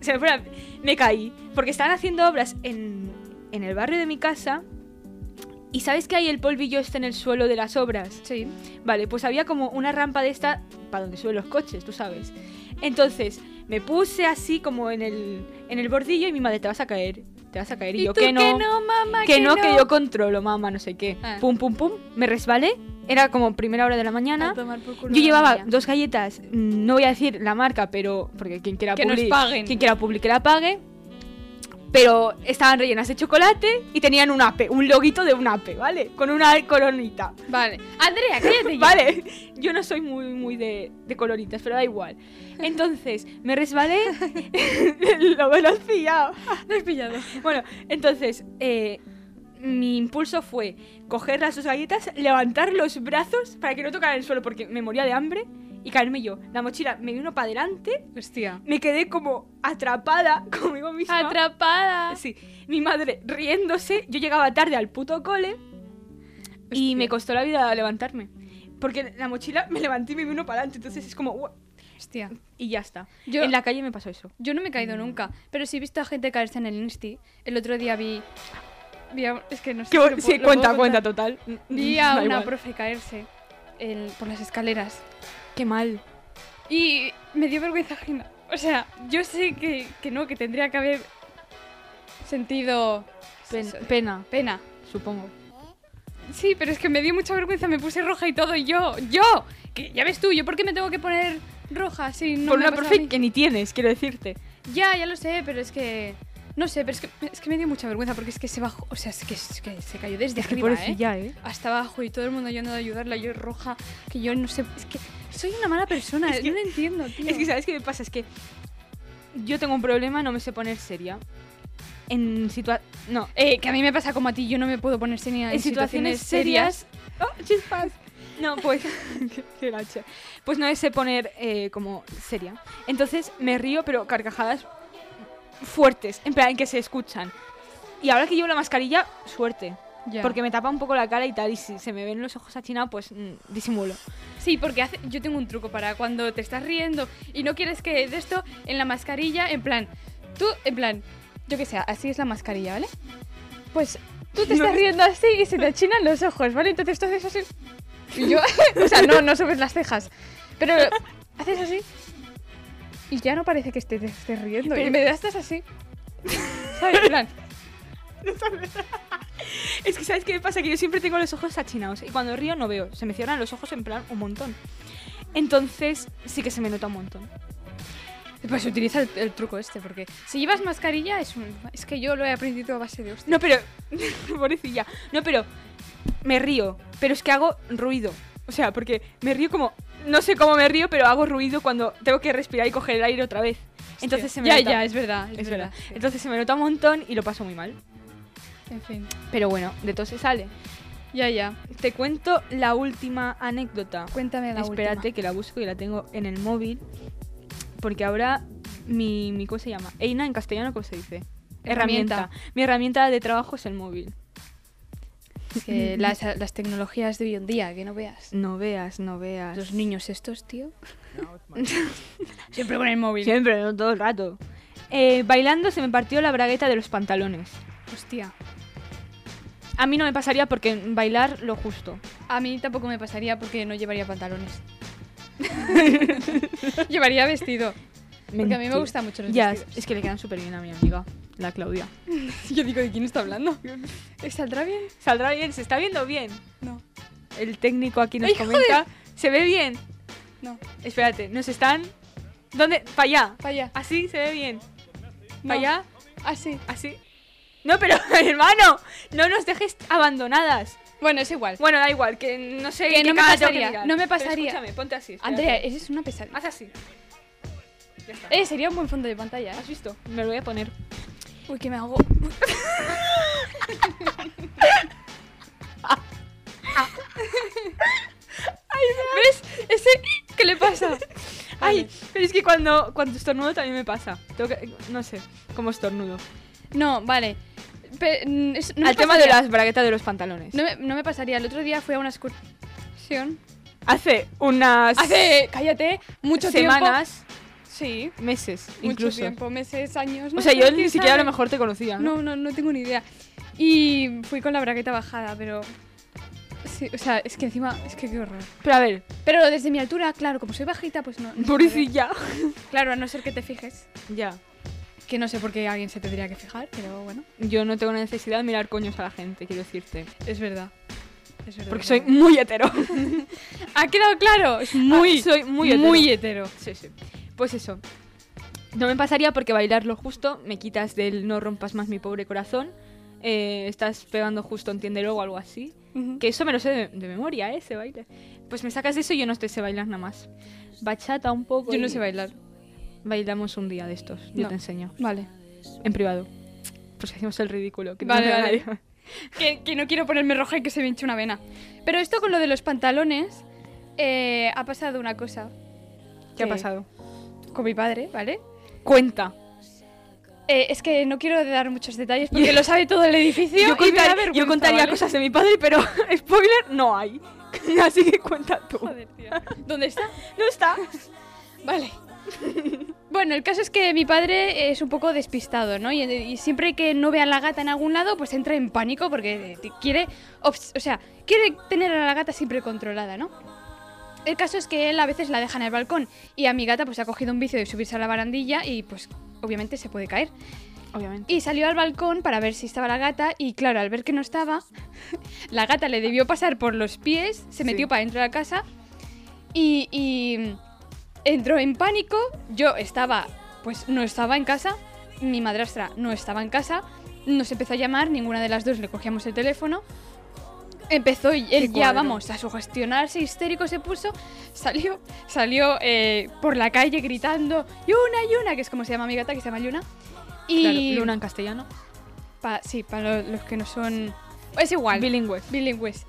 [SPEAKER 3] Se me, fue la- me caí. Porque estaban haciendo obras en, en el barrio de mi casa. ¿Y sabes que hay el polvillo este en el suelo de las obras?
[SPEAKER 2] Sí.
[SPEAKER 3] Vale, pues había como una rampa de esta para donde suben los coches, tú sabes. Entonces, me puse así como en el, en el bordillo y mi madre, te vas a caer, te vas a caer. Y,
[SPEAKER 2] ¿Y
[SPEAKER 3] yo,
[SPEAKER 2] tú
[SPEAKER 3] que no,
[SPEAKER 2] mamá?
[SPEAKER 3] que no, que yo controlo, mamá, no sé qué.
[SPEAKER 2] Ah.
[SPEAKER 3] Pum, pum, pum, me resbalé. Era como primera hora de la mañana.
[SPEAKER 2] A tomar por culo
[SPEAKER 3] Yo
[SPEAKER 2] la
[SPEAKER 3] llevaba
[SPEAKER 2] mía.
[SPEAKER 3] dos galletas, mm, no voy a decir la marca, pero porque quien quiera
[SPEAKER 2] Que nos
[SPEAKER 3] publi-
[SPEAKER 2] paguen.
[SPEAKER 3] quien quiera publi que la pague. Pero estaban rellenas de chocolate y tenían un ape, un loguito de un ape, ¿vale? Con una coronita.
[SPEAKER 2] Vale. Andrea, cállate ya.
[SPEAKER 3] Vale, yo no soy muy, muy de, de coloritas, pero da igual. Entonces, me resbalé. lo, lo has pillado.
[SPEAKER 2] No he pillado.
[SPEAKER 3] Bueno, entonces, eh, mi impulso fue coger las dos galletas, levantar los brazos para que no tocaran el suelo porque me moría de hambre y caerme yo. La mochila me vino para adelante,
[SPEAKER 2] Hostia.
[SPEAKER 3] me quedé como atrapada conmigo misma.
[SPEAKER 2] Atrapada.
[SPEAKER 3] Sí, mi madre riéndose, yo llegaba tarde al puto cole y
[SPEAKER 2] Hostia.
[SPEAKER 3] me costó la vida levantarme. Porque la mochila me levanté y me vino para adelante, entonces es como... "Ua",
[SPEAKER 2] Hostia.
[SPEAKER 3] Y ya está.
[SPEAKER 2] Yo-
[SPEAKER 3] En la Mm. calle me pasó eso.
[SPEAKER 2] Yo no me he caído nunca, pero sí he visto a gente caerse en el Insti. El otro día vi. vi a- es que no sé.
[SPEAKER 3] Que-
[SPEAKER 2] si lo
[SPEAKER 3] sí,
[SPEAKER 2] puedo- lo
[SPEAKER 3] cuenta,
[SPEAKER 2] puedo
[SPEAKER 3] cuenta,
[SPEAKER 2] contar.
[SPEAKER 3] total.
[SPEAKER 2] Vi a
[SPEAKER 3] Da
[SPEAKER 2] una
[SPEAKER 3] igual.
[SPEAKER 2] profe caerse el- por las escaleras.
[SPEAKER 3] Qué mal.
[SPEAKER 2] Y me dio vergüenza ajena. O sea, yo sé que, que no, que tendría que haber sentido
[SPEAKER 3] Pen-
[SPEAKER 2] eso,
[SPEAKER 3] pena,
[SPEAKER 2] pena.
[SPEAKER 3] supongo.
[SPEAKER 2] Sí, pero es que me dio mucha vergüenza, me puse roja y todo. Y yo, yo, que ya ves tú, yo por qué me tengo que poner roja si no
[SPEAKER 3] Por
[SPEAKER 2] me ha
[SPEAKER 3] una
[SPEAKER 2] pasado a
[SPEAKER 3] profe
[SPEAKER 2] mí?
[SPEAKER 3] que ni tienes, quiero decirte.
[SPEAKER 2] Ya, ya lo sé, pero es que. No sé, pero es que, es que me dio mucha vergüenza porque es que se bajó. O sea, es que, es que se cayó desde arriba, ¿eh?
[SPEAKER 3] pobrecilla, ¿eh?
[SPEAKER 2] Hasta abajo y todo el mundo yendo a ayudarla, yo roja, que yo no sé. Es que soy una mala persona,
[SPEAKER 3] Es que-
[SPEAKER 2] no lo entiendo, tío.
[SPEAKER 3] Es que, ¿sabes qué me pasa? Es que yo tengo un problema, no me sé poner seria. En situa... No.
[SPEAKER 2] Eh, que a mí me pasa como a ti, yo no me puedo poner seria en,
[SPEAKER 3] En situaciones serias... ¡Oh, chispas! No, pues... qué- qué lache. Pues no me sé poner eh, como seria. Entonces me río, pero carcajadas fuertes, en plan que se escuchan. Y ahora que llevo la mascarilla, suerte.
[SPEAKER 2] Ya.
[SPEAKER 3] Porque me tapa un poco la cara y tal, y si se me ven los ojos achinados, pues mm, disimulo.
[SPEAKER 2] Sí, porque hace- yo tengo un truco para cuando te estás riendo y no quieres que de esto en la mascarilla, en plan, tú, en plan, yo que sé, así es la mascarilla, ¿vale? Pues tú te
[SPEAKER 3] No.
[SPEAKER 2] estás riendo así y se te achinan los ojos, ¿vale? Entonces tú haces así. Y yo, o sea, no, no subes las cejas, pero haces así y ya no parece que estés, te estés riendo. y
[SPEAKER 3] Pero-
[SPEAKER 2] me das así. ¿Sabes? En plan,
[SPEAKER 3] Es que, ¿sabes qué me pasa? Que yo siempre tengo los ojos achinados y cuando río no veo. Se me cierran los ojos en plan un montón. Entonces, sí que se me nota un montón.
[SPEAKER 2] pues utiliza el, el truco este, porque si llevas mascarilla es un. Es que yo lo he aprendido a base de hostia.
[SPEAKER 3] No, pero. Pobrecilla. No, pero. Me río. Pero es que hago ruido. O sea, porque me río como. No sé cómo me río, pero hago ruido cuando tengo que respirar y coger el aire otra vez. Entonces se me
[SPEAKER 2] ya,
[SPEAKER 3] nota.
[SPEAKER 2] ya, es verdad. Es,
[SPEAKER 3] Es verdad.
[SPEAKER 2] sí.
[SPEAKER 3] Entonces se me nota un montón y lo paso muy mal.
[SPEAKER 2] En fin,
[SPEAKER 3] Pero bueno, de todo se sale.
[SPEAKER 2] ya, ya.
[SPEAKER 3] Te cuento la última anécdota.
[SPEAKER 2] Cuéntame la
[SPEAKER 3] Espérate
[SPEAKER 2] última.
[SPEAKER 3] que la busco y la tengo en el móvil. Porque ahora mi, mi ¿cómo se llama? Eina en castellano, ¿cómo se dice?
[SPEAKER 2] Herramienta.
[SPEAKER 3] Mi herramienta de trabajo es el móvil.
[SPEAKER 2] Es que las, las tecnologías de hoy en día, que no veas.
[SPEAKER 3] No veas, no veas.
[SPEAKER 2] Los niños estos, tío. Siempre con el móvil.
[SPEAKER 3] Siempre, no todo el rato. Eh, bailando se me partió la bragueta de los pantalones.
[SPEAKER 2] Hostia.
[SPEAKER 3] A mí no me pasaría porque bailar lo justo.
[SPEAKER 2] A mí tampoco me pasaría porque no llevaría pantalones. llevaría vestido. Porque a mí me
[SPEAKER 3] Mentira.
[SPEAKER 2] gustan mucho los
[SPEAKER 3] Ya,
[SPEAKER 2] vestidos.
[SPEAKER 3] es que le quedan súper bien a mi amiga, la Claudia.
[SPEAKER 2] Yo digo, ¿de quién está hablando? ¿Saldrá bien?
[SPEAKER 3] Saldrá bien, se está viendo bien.
[SPEAKER 2] No.
[SPEAKER 3] El técnico aquí nos
[SPEAKER 2] ¡Ay, joder!
[SPEAKER 3] comenta. ¿Se ve bien?
[SPEAKER 2] No.
[SPEAKER 3] Espérate, nos están. ¿Dónde? Para allá.
[SPEAKER 2] Para allá.
[SPEAKER 3] Así se ve bien.
[SPEAKER 2] No.
[SPEAKER 3] Para allá,
[SPEAKER 2] Ah, Así.
[SPEAKER 3] así. No, pero hermano, no nos dejes abandonadas.
[SPEAKER 2] Bueno, es igual.
[SPEAKER 3] Bueno, da igual, que no sé.
[SPEAKER 2] Que
[SPEAKER 3] en qué
[SPEAKER 2] no me
[SPEAKER 3] cara tengo que
[SPEAKER 2] pasaría,
[SPEAKER 3] mirar.
[SPEAKER 2] no me
[SPEAKER 3] Pero
[SPEAKER 2] pasaría.
[SPEAKER 3] escúchame, ponte así. espérate.
[SPEAKER 2] Andrea, eh. eres una pesadilla.
[SPEAKER 3] haz así. Ya está.
[SPEAKER 2] Eh, sería un buen fondo de pantalla,
[SPEAKER 3] ¿Has
[SPEAKER 2] ¿eh?
[SPEAKER 3] visto? Me lo voy a poner.
[SPEAKER 2] Uy, que me hago. ¿Ves? Ese. ¿Qué le pasa?
[SPEAKER 3] Ay, pero es que cuando, cuando estornudo también me pasa. Tengo que- no sé, como estornudo.
[SPEAKER 2] No, vale. Pe- mm, es- no me
[SPEAKER 3] Al tema de
[SPEAKER 2] pasaría.
[SPEAKER 3] las braguetas de los pantalones.
[SPEAKER 2] No me, no me pasaría. El otro día fui a una excursión.
[SPEAKER 3] Hace unas
[SPEAKER 2] Hace, cállate, mucho
[SPEAKER 3] semanas,
[SPEAKER 2] tiempo. Sí,
[SPEAKER 3] meses,
[SPEAKER 2] mucho
[SPEAKER 3] incluso.
[SPEAKER 2] tiempo, meses, años.
[SPEAKER 3] O
[SPEAKER 2] no
[SPEAKER 3] sea,
[SPEAKER 2] sé
[SPEAKER 3] yo
[SPEAKER 2] quién
[SPEAKER 3] ni siquiera a
[SPEAKER 2] sabe.
[SPEAKER 3] lo mejor te conocía. ¿no?
[SPEAKER 2] No, no, no tengo ni idea. Y fui con la bragueta bajada, pero. Sí, o sea, es que encima. Es que qué horror.
[SPEAKER 3] Pero a ver,
[SPEAKER 2] Pero desde mi altura, claro, como soy bajita, pues no. no se
[SPEAKER 3] pobrecilla.
[SPEAKER 2] puede. Claro, a no ser que te fijes.
[SPEAKER 3] ya.
[SPEAKER 2] Que no sé por qué alguien se tendría que fijar, pero bueno.
[SPEAKER 3] Yo no tengo necesidad de mirar coños a la gente, quiero decirte.
[SPEAKER 2] Es verdad. Es verdad.
[SPEAKER 3] Porque soy muy hetero.
[SPEAKER 2] Ha quedado claro. Es muy.
[SPEAKER 3] Ah, soy muy hetero.
[SPEAKER 2] Muy hetero.
[SPEAKER 3] Sí, sí. Pues eso. No me pasaría porque bailar lo justo, me quitas del no rompas más mi pobre corazón, eh, estás pegando justo, entiéndelo o algo así.
[SPEAKER 2] Ujú.
[SPEAKER 3] Que eso me lo sé de, de memoria, ¿eh? Ese baile. Pues me sacas de eso y yo no te sé bailar nada más. Bachata un poco.
[SPEAKER 2] Yo no
[SPEAKER 3] y
[SPEAKER 2] sé bailar.
[SPEAKER 3] Bailamos un día de estos, yo
[SPEAKER 2] No.
[SPEAKER 3] te enseño.
[SPEAKER 2] Vale.
[SPEAKER 3] En privado. Pues hacemos el ridículo. Que no
[SPEAKER 2] Vale,
[SPEAKER 3] me
[SPEAKER 2] vale.
[SPEAKER 3] ganaría.
[SPEAKER 2] que, que no quiero ponerme roja y que se me hinche una vena. Pero esto con lo de los pantalones, eh, ha pasado una cosa.
[SPEAKER 3] ¿Qué ha
[SPEAKER 2] Que-
[SPEAKER 3] pasado?
[SPEAKER 2] Con mi padre, ¿vale?
[SPEAKER 3] Cuenta.
[SPEAKER 2] Eh, es que no quiero dar muchos detalles porque lo sabe todo el edificio.
[SPEAKER 3] Yo,
[SPEAKER 2] y me
[SPEAKER 3] contar-
[SPEAKER 2] da
[SPEAKER 3] yo
[SPEAKER 2] vergüenza,
[SPEAKER 3] contaría
[SPEAKER 2] ¿vale?
[SPEAKER 3] cosas de mi padre, pero spoiler no hay. Así que cuenta tú.
[SPEAKER 2] Joder, tío. ¿Dónde está?
[SPEAKER 3] No está.
[SPEAKER 2] Vale. Bueno, el caso es que mi padre es un poco despistado, ¿no? Y, y siempre que no ve a la gata en algún lado, pues entra en pánico porque eh, te- quiere, obs- o sea, quiere tener a la gata siempre controlada, ¿no? El caso es que él a veces la deja en el balcón y a mi gata pues ha cogido un vicio de subirse a la barandilla y pues obviamente se puede caer.
[SPEAKER 3] Obviamente.
[SPEAKER 2] Y salió al balcón para ver si estaba la gata y claro, al ver que no estaba, la gata le debió pasar por los pies, se metió para dentro de la casa y, y entró en pánico. Yo estaba, pues no estaba en casa, mi madrastra no estaba en casa, nos empezó a llamar, ninguna de las dos le cogíamos el teléfono. Empezó y él ya,
[SPEAKER 3] cuadro.
[SPEAKER 2] vamos, a sugestionarse, histérico se puso, salió, salió eh, por la calle gritando, Yuna, Yuna, que es como se llama mi gata, que se llama Yuna. Y
[SPEAKER 3] Claro, Luna en castellano.
[SPEAKER 2] Pa- sí, para lo- los que no son... Es igual.
[SPEAKER 3] Bilingües.
[SPEAKER 2] bilingües.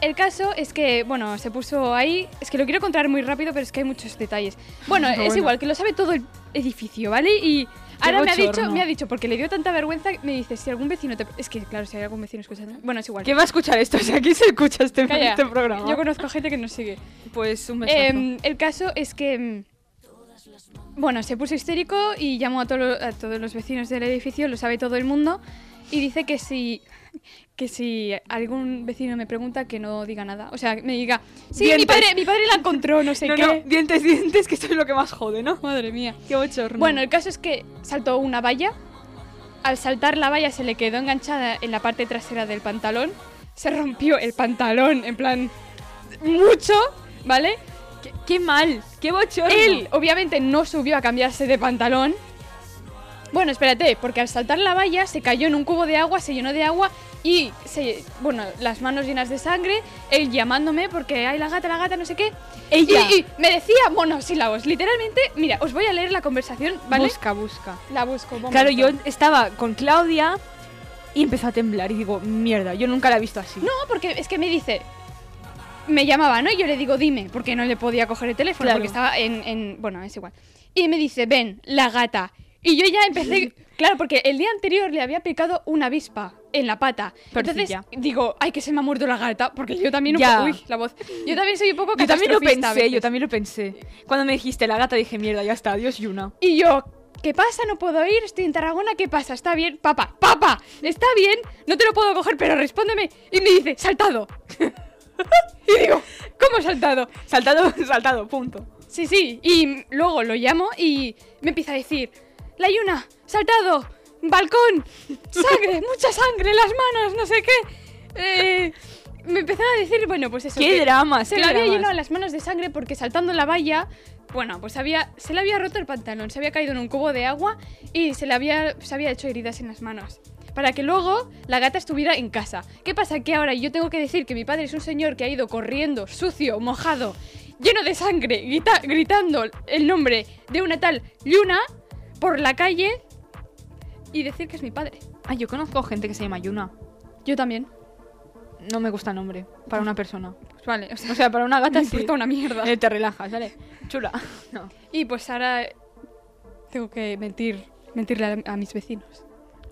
[SPEAKER 2] El caso es que, bueno, se puso ahí... Es que lo quiero contar muy rápido, pero es que hay muchos detalles. Bueno, es
[SPEAKER 3] Bueno.
[SPEAKER 2] igual, que lo sabe todo el edificio, ¿vale? Y ahora me ha, dicho,
[SPEAKER 3] bochorno.
[SPEAKER 2] me ha dicho, porque le dio tanta vergüenza, me dice, si algún vecino te... Es que, claro, si hay algún vecino escuchando... Bueno, es igual.
[SPEAKER 3] ¿Quién va a escuchar esto? O sea, ¿quién se escucha este,
[SPEAKER 2] Calla.
[SPEAKER 3] este programa?
[SPEAKER 2] Yo conozco gente que nos sigue.
[SPEAKER 3] Pues un
[SPEAKER 2] Em, el caso es que. em, Bueno, se puso histérico y llamó a, tolo- a todos los vecinos del edificio, lo sabe todo el mundo, y dice que si, que si algún vecino me pregunta, que no diga nada. O sea, que me diga, sí, mi
[SPEAKER 3] Dientes.
[SPEAKER 2] padre, mi padre la encontró, no sé
[SPEAKER 3] no,
[SPEAKER 2] qué.
[SPEAKER 3] no, dientes, dientes, que esto es lo que más jode, ¿no?
[SPEAKER 2] Madre mía.
[SPEAKER 3] Qué bochorno.
[SPEAKER 2] Bueno, el caso es que saltó una valla. Al saltar la valla se le quedó enganchada en la parte trasera del pantalón. Se rompió el pantalón, en plan, mucho, ¿vale?
[SPEAKER 3] qué, qué mal, qué bochorno.
[SPEAKER 2] Él, obviamente, no subió a cambiarse de pantalón. Bueno, espérate, porque al saltar la valla se cayó en un cubo de agua, se llenó de agua y se, bueno, las manos llenas de sangre, él llamándome porque hay la gata, la gata, no sé qué.
[SPEAKER 3] Ella.
[SPEAKER 2] Y, y me decía monosílabos. Literalmente, mira, os voy a leer la conversación, ¿vale?
[SPEAKER 3] Busca, busca.
[SPEAKER 2] la busco. un
[SPEAKER 3] Claro, yo
[SPEAKER 2] momento.
[SPEAKER 3] estaba con Claudia y empezó a temblar y digo, mierda, yo nunca la he visto así.
[SPEAKER 2] No, porque es que me dice. Me llamaba, ¿no? Y yo le digo, dime, porque no le podía coger el teléfono,
[SPEAKER 3] Claro.
[SPEAKER 2] porque estaba en, en- Bueno, es igual. Y me dice, ven, la gata. Y yo ya empecé. claro, porque el día anterior le había picado una avispa en la pata.
[SPEAKER 3] Porcilla.
[SPEAKER 2] Entonces digo, ay, que se me ha muerto la gata, porque yo también. un
[SPEAKER 3] Ya.
[SPEAKER 2] po- Uy, la voz. Yo también soy un poco
[SPEAKER 3] Yo también lo
[SPEAKER 2] catastrofista a
[SPEAKER 3] pensé, yo
[SPEAKER 2] veces.
[SPEAKER 3] también lo pensé. Cuando me dijiste la gata dije, mierda, ya está, adiós Yuna.
[SPEAKER 2] Y yo, ¿qué pasa? No puedo ir, estoy en Tarragona, ¿qué pasa? ¿Está bien? Papá, papá, ¿está bien? No te lo puedo coger, pero respóndeme. Y me dice, saltado. y digo, ¿cómo saltado?
[SPEAKER 3] Saltado, saltado, punto.
[SPEAKER 2] Sí, sí, y luego lo llamo y me empieza a decir, la yuna, saltado, balcón, sangre, mucha sangre, en las manos, no sé qué. Eh, me empezaba a decir, bueno, pues eso.
[SPEAKER 3] Qué
[SPEAKER 2] que
[SPEAKER 3] dramas,
[SPEAKER 2] Se
[SPEAKER 3] qué
[SPEAKER 2] le había
[SPEAKER 3] dramas.
[SPEAKER 2] llenado las manos de sangre porque saltando la valla, bueno, pues había, se le había roto el pantalón, se había caído en un cubo de agua y se le había, se había hecho heridas en las manos. Para que luego la gata estuviera en casa. ¿Qué pasa? Que ahora yo tengo que decir que mi padre es un señor que ha ido corriendo, sucio, mojado, lleno de sangre, grita- gritando el nombre de una tal Yuna por la calle y decir que es mi padre.
[SPEAKER 3] Ay, yo conozco gente que se llama Yuna.
[SPEAKER 2] Yo también.
[SPEAKER 3] No me gusta el nombre para una persona.
[SPEAKER 2] Pues vale, o sea,
[SPEAKER 3] O sea, para una gata
[SPEAKER 2] me
[SPEAKER 3] sí.
[SPEAKER 2] importa una mierda.
[SPEAKER 3] Eh, te relajas, ¿vale? Chula. No.
[SPEAKER 2] Y pues ahora tengo que mentir, mentirle a, a mis vecinos.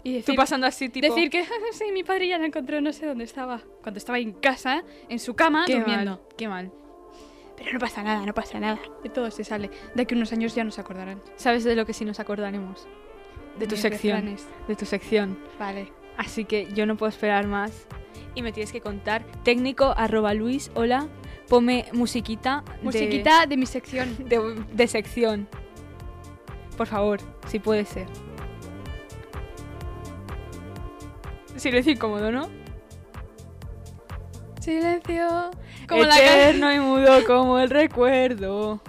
[SPEAKER 2] Y decir,
[SPEAKER 3] Tú pasando así, tipo...
[SPEAKER 2] decir que sí, mi padre ya lo encontró, no sé dónde estaba. Cuando estaba en casa, en su cama,
[SPEAKER 3] qué
[SPEAKER 2] durmiendo.
[SPEAKER 3] mal, qué mal.
[SPEAKER 2] Pero no pasa nada, no pasa nada. De todo se sale. De aquí a unos años ya nos acordarán.
[SPEAKER 3] ¿Sabes de lo que sí nos acordaremos? De tu
[SPEAKER 2] Mis
[SPEAKER 3] sección.
[SPEAKER 2] refranes.
[SPEAKER 3] De tu sección.
[SPEAKER 2] Vale.
[SPEAKER 3] Así que yo no puedo esperar más. Y me tienes que contar. Técnico, arroba Luis, hola. Pome musiquita. de-
[SPEAKER 2] Musiquita de mi sección.
[SPEAKER 3] de, de sección. Por favor, si puede ser. Silencio incómodo, ¿no?
[SPEAKER 2] Silencio. Como la can-
[SPEAKER 3] Eterno y mudo como el recuerdo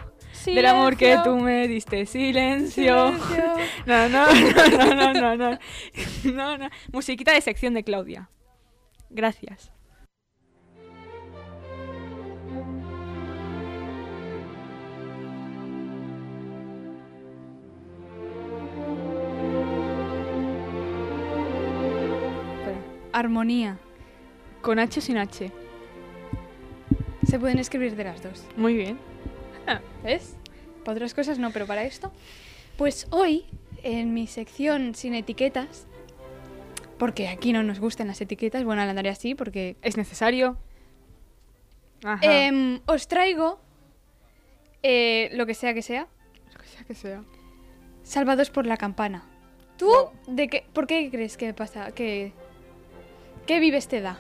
[SPEAKER 3] del amor que
[SPEAKER 2] Silencio.
[SPEAKER 3] tú me diste. Silencio.
[SPEAKER 2] Silencio.
[SPEAKER 3] No, no, no, no, no, no, no. No, no. Musiquita de sección de Claudia. Gracias.
[SPEAKER 2] Armonía.
[SPEAKER 3] Con H o sin H.
[SPEAKER 2] Se pueden escribir de las dos.
[SPEAKER 3] Muy bien.
[SPEAKER 2] ¿Ves? Para otras cosas no, pero para esto. Pues hoy, en mi sección sin etiquetas, porque aquí no nos gustan las etiquetas, bueno, la andaré así porque...
[SPEAKER 3] ¿Es necesario? Ajá.
[SPEAKER 2] Em, os traigo eh, lo que sea que sea,
[SPEAKER 3] Lo que sea que sea.
[SPEAKER 2] salvados por la campana. ¿Tú de qué, por qué crees que pasa? que ¿Qué vives te da?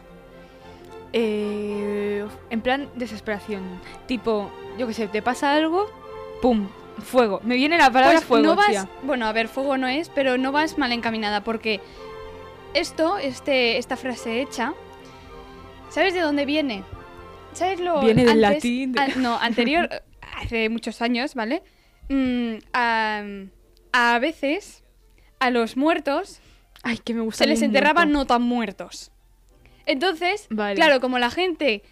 [SPEAKER 3] Eh, en plan desesperación. Tipo, yo qué sé, te pasa algo, ¡pum! Fuego. Me viene la palabra
[SPEAKER 2] Pues
[SPEAKER 3] fuego,
[SPEAKER 2] no vas,
[SPEAKER 3] tía.
[SPEAKER 2] bueno, a ver, fuego no es, pero no vas mal encaminada porque esto, este, esta frase hecha, ¿sabes de dónde viene? ¿Sabes lo
[SPEAKER 3] Viene del
[SPEAKER 2] antes-
[SPEAKER 3] latín, de-
[SPEAKER 2] an- no, anterior, hace muchos años, ¿vale? Mm, a, a veces a los muertos
[SPEAKER 3] Ay, que me gusta.
[SPEAKER 2] se les enterraba no tan muertos. Entonces,
[SPEAKER 3] Vale.
[SPEAKER 2] claro, como la gente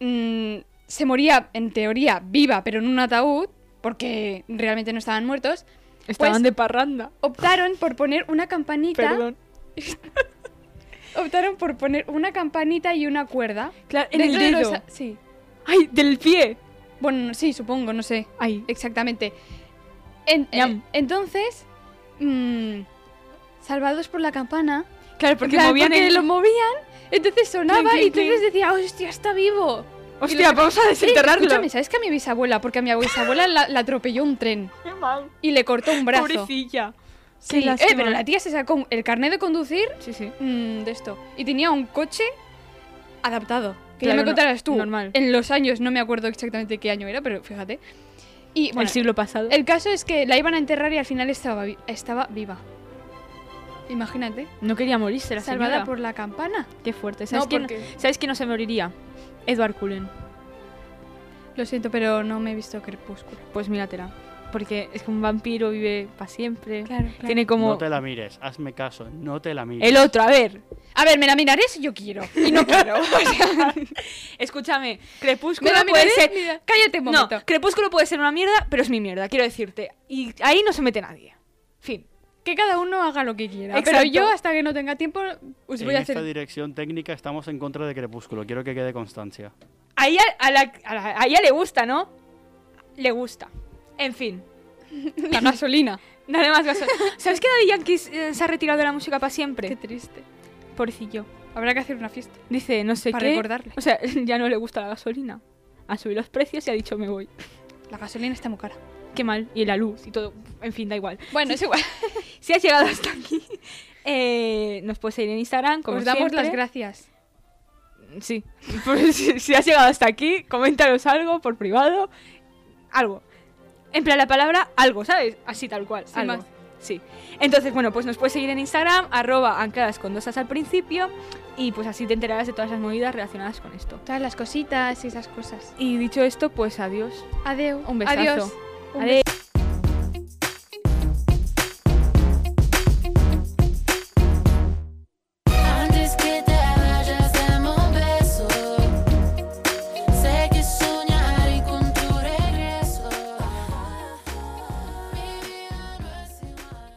[SPEAKER 2] mm, se moría en teoría viva, pero en un ataúd, porque realmente no estaban muertos,
[SPEAKER 3] Estaban
[SPEAKER 2] pues-
[SPEAKER 3] de parranda.
[SPEAKER 2] optaron por poner una campanita.
[SPEAKER 3] Perdón.
[SPEAKER 2] Optaron por poner una campanita y una cuerda.
[SPEAKER 3] Claro, en el
[SPEAKER 2] dentro de
[SPEAKER 3] dedo.
[SPEAKER 2] los a- sí.
[SPEAKER 3] Ay, del pie.
[SPEAKER 2] Bueno, sí, supongo, no sé
[SPEAKER 3] Ay,
[SPEAKER 2] exactamente. En- eh,
[SPEAKER 3] Ñam.
[SPEAKER 2] entonces, mm, salvados por la campana.
[SPEAKER 3] claro,
[SPEAKER 2] en
[SPEAKER 3] porque
[SPEAKER 2] plan,
[SPEAKER 3] movían
[SPEAKER 2] porque
[SPEAKER 3] el...
[SPEAKER 2] lo movían, entonces sonaba
[SPEAKER 3] Clink,
[SPEAKER 2] y
[SPEAKER 3] clink,
[SPEAKER 2] entonces decía, hostia, está vivo.
[SPEAKER 3] Hostia,
[SPEAKER 2] lo-
[SPEAKER 3] vamos a
[SPEAKER 2] Sí,
[SPEAKER 3] desenterrarlo.
[SPEAKER 2] escúchame, ¿sabes que a mi bisabuela? Porque a mi bisabuela la, la atropelló un tren
[SPEAKER 3] Qué mal.
[SPEAKER 2] y le cortó un brazo.
[SPEAKER 3] Pobrecilla.
[SPEAKER 2] Sí,
[SPEAKER 3] Qué
[SPEAKER 2] eh,
[SPEAKER 3] lástima.
[SPEAKER 2] pero la tía se sacó el carnet de conducir
[SPEAKER 3] Sí, sí.
[SPEAKER 2] mm, de esto. Y tenía un coche adaptado. Que
[SPEAKER 3] Claro,
[SPEAKER 2] ya
[SPEAKER 3] no-
[SPEAKER 2] me contarás tú.
[SPEAKER 3] normal.
[SPEAKER 2] En los años, no me acuerdo exactamente qué año era, pero fíjate. Y bueno,
[SPEAKER 3] el siglo pasado.
[SPEAKER 2] el caso es que la iban a enterrar y al final estaba, vi- estaba viva. Imagínate.
[SPEAKER 3] No quería morirse la
[SPEAKER 2] salvada
[SPEAKER 3] señora.
[SPEAKER 2] por la campana.
[SPEAKER 3] Qué fuerte. ¿Sabes,
[SPEAKER 2] No,
[SPEAKER 3] quién...
[SPEAKER 2] porque-
[SPEAKER 3] ¿Sabes quién no se moriría? Edward Cullen.
[SPEAKER 2] Lo siento, pero no me he visto crepúsculo.
[SPEAKER 3] Pues míratela. Porque es que un vampiro vive para siempre.
[SPEAKER 2] Claro, claro.
[SPEAKER 3] Tiene como...
[SPEAKER 5] No te la mires, hazme caso, no te la mires.
[SPEAKER 3] El otro, a ver.
[SPEAKER 2] A ver, me la miraré si yo quiero. Y no quiero. O sea,
[SPEAKER 3] Escúchame,
[SPEAKER 2] me
[SPEAKER 3] Crepúsculo
[SPEAKER 2] la
[SPEAKER 3] puede
[SPEAKER 2] miraré.
[SPEAKER 3] ser...
[SPEAKER 2] mira, Cállate un
[SPEAKER 3] No,
[SPEAKER 2] momento.
[SPEAKER 3] Crepúsculo puede ser una mierda, pero es mi mierda, quiero decirte. Y ahí no se mete nadie. Fin.
[SPEAKER 2] Que cada uno haga lo que quiera.
[SPEAKER 3] Exacto.
[SPEAKER 2] Pero yo, hasta que no tenga tiempo, os
[SPEAKER 3] pues
[SPEAKER 5] en
[SPEAKER 2] voy a
[SPEAKER 5] esta
[SPEAKER 2] hacer
[SPEAKER 5] dirección técnica estamos en contra de Crepúsculo, quiero que quede constancia.
[SPEAKER 3] Ahí a, a la, a la- a ella le gusta, ¿no? Le gusta. En fin.
[SPEAKER 2] la gasolina.
[SPEAKER 3] Nada más gaso- ¿Sabes que Daddy Yankee eh, se ha retirado de la música para siempre?
[SPEAKER 2] Qué triste.
[SPEAKER 3] Pobrecillo.
[SPEAKER 2] Habrá que hacer una fiesta.
[SPEAKER 3] Dice, no sé
[SPEAKER 2] Para
[SPEAKER 3] qué.
[SPEAKER 2] recordarle.
[SPEAKER 3] O sea, ya no le gusta la gasolina. Ha subido los precios y ha dicho me voy.
[SPEAKER 2] La gasolina está muy cara.
[SPEAKER 3] Qué mal. Y la luz y todo. En fin, da igual.
[SPEAKER 2] Bueno, es igual.
[SPEAKER 3] Si has llegado hasta aquí, eh, nos puedes seguir en Instagram. Como
[SPEAKER 2] Os damos
[SPEAKER 3] siempre.
[SPEAKER 2] las gracias.
[SPEAKER 3] Sí. Pues, si, si has llegado hasta aquí, coméntanos algo por privado. Algo. En plan, la palabra algo, ¿sabes? Así tal cual.
[SPEAKER 2] Sin
[SPEAKER 3] algo.
[SPEAKER 2] más.
[SPEAKER 3] Sí. Entonces, bueno, pues nos puedes seguir en Instagram, arroba ancladas con dosas al principio. Y pues así te enterarás de todas las movidas relacionadas con esto.
[SPEAKER 2] Todas las cositas y esas cosas.
[SPEAKER 3] Y dicho esto, pues adiós.
[SPEAKER 2] Adeu.
[SPEAKER 3] Un besazo.
[SPEAKER 2] Adiós. Un
[SPEAKER 3] Adiós.
[SPEAKER 4] Antes que te vayas, dame un beso. Sé que soñaré con tu regreso. Mi vida no es igual.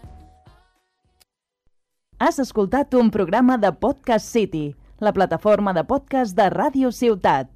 [SPEAKER 1] Has escoltat un programa de Podcast City, la plataforma de podcast de Ràdio Ciutat.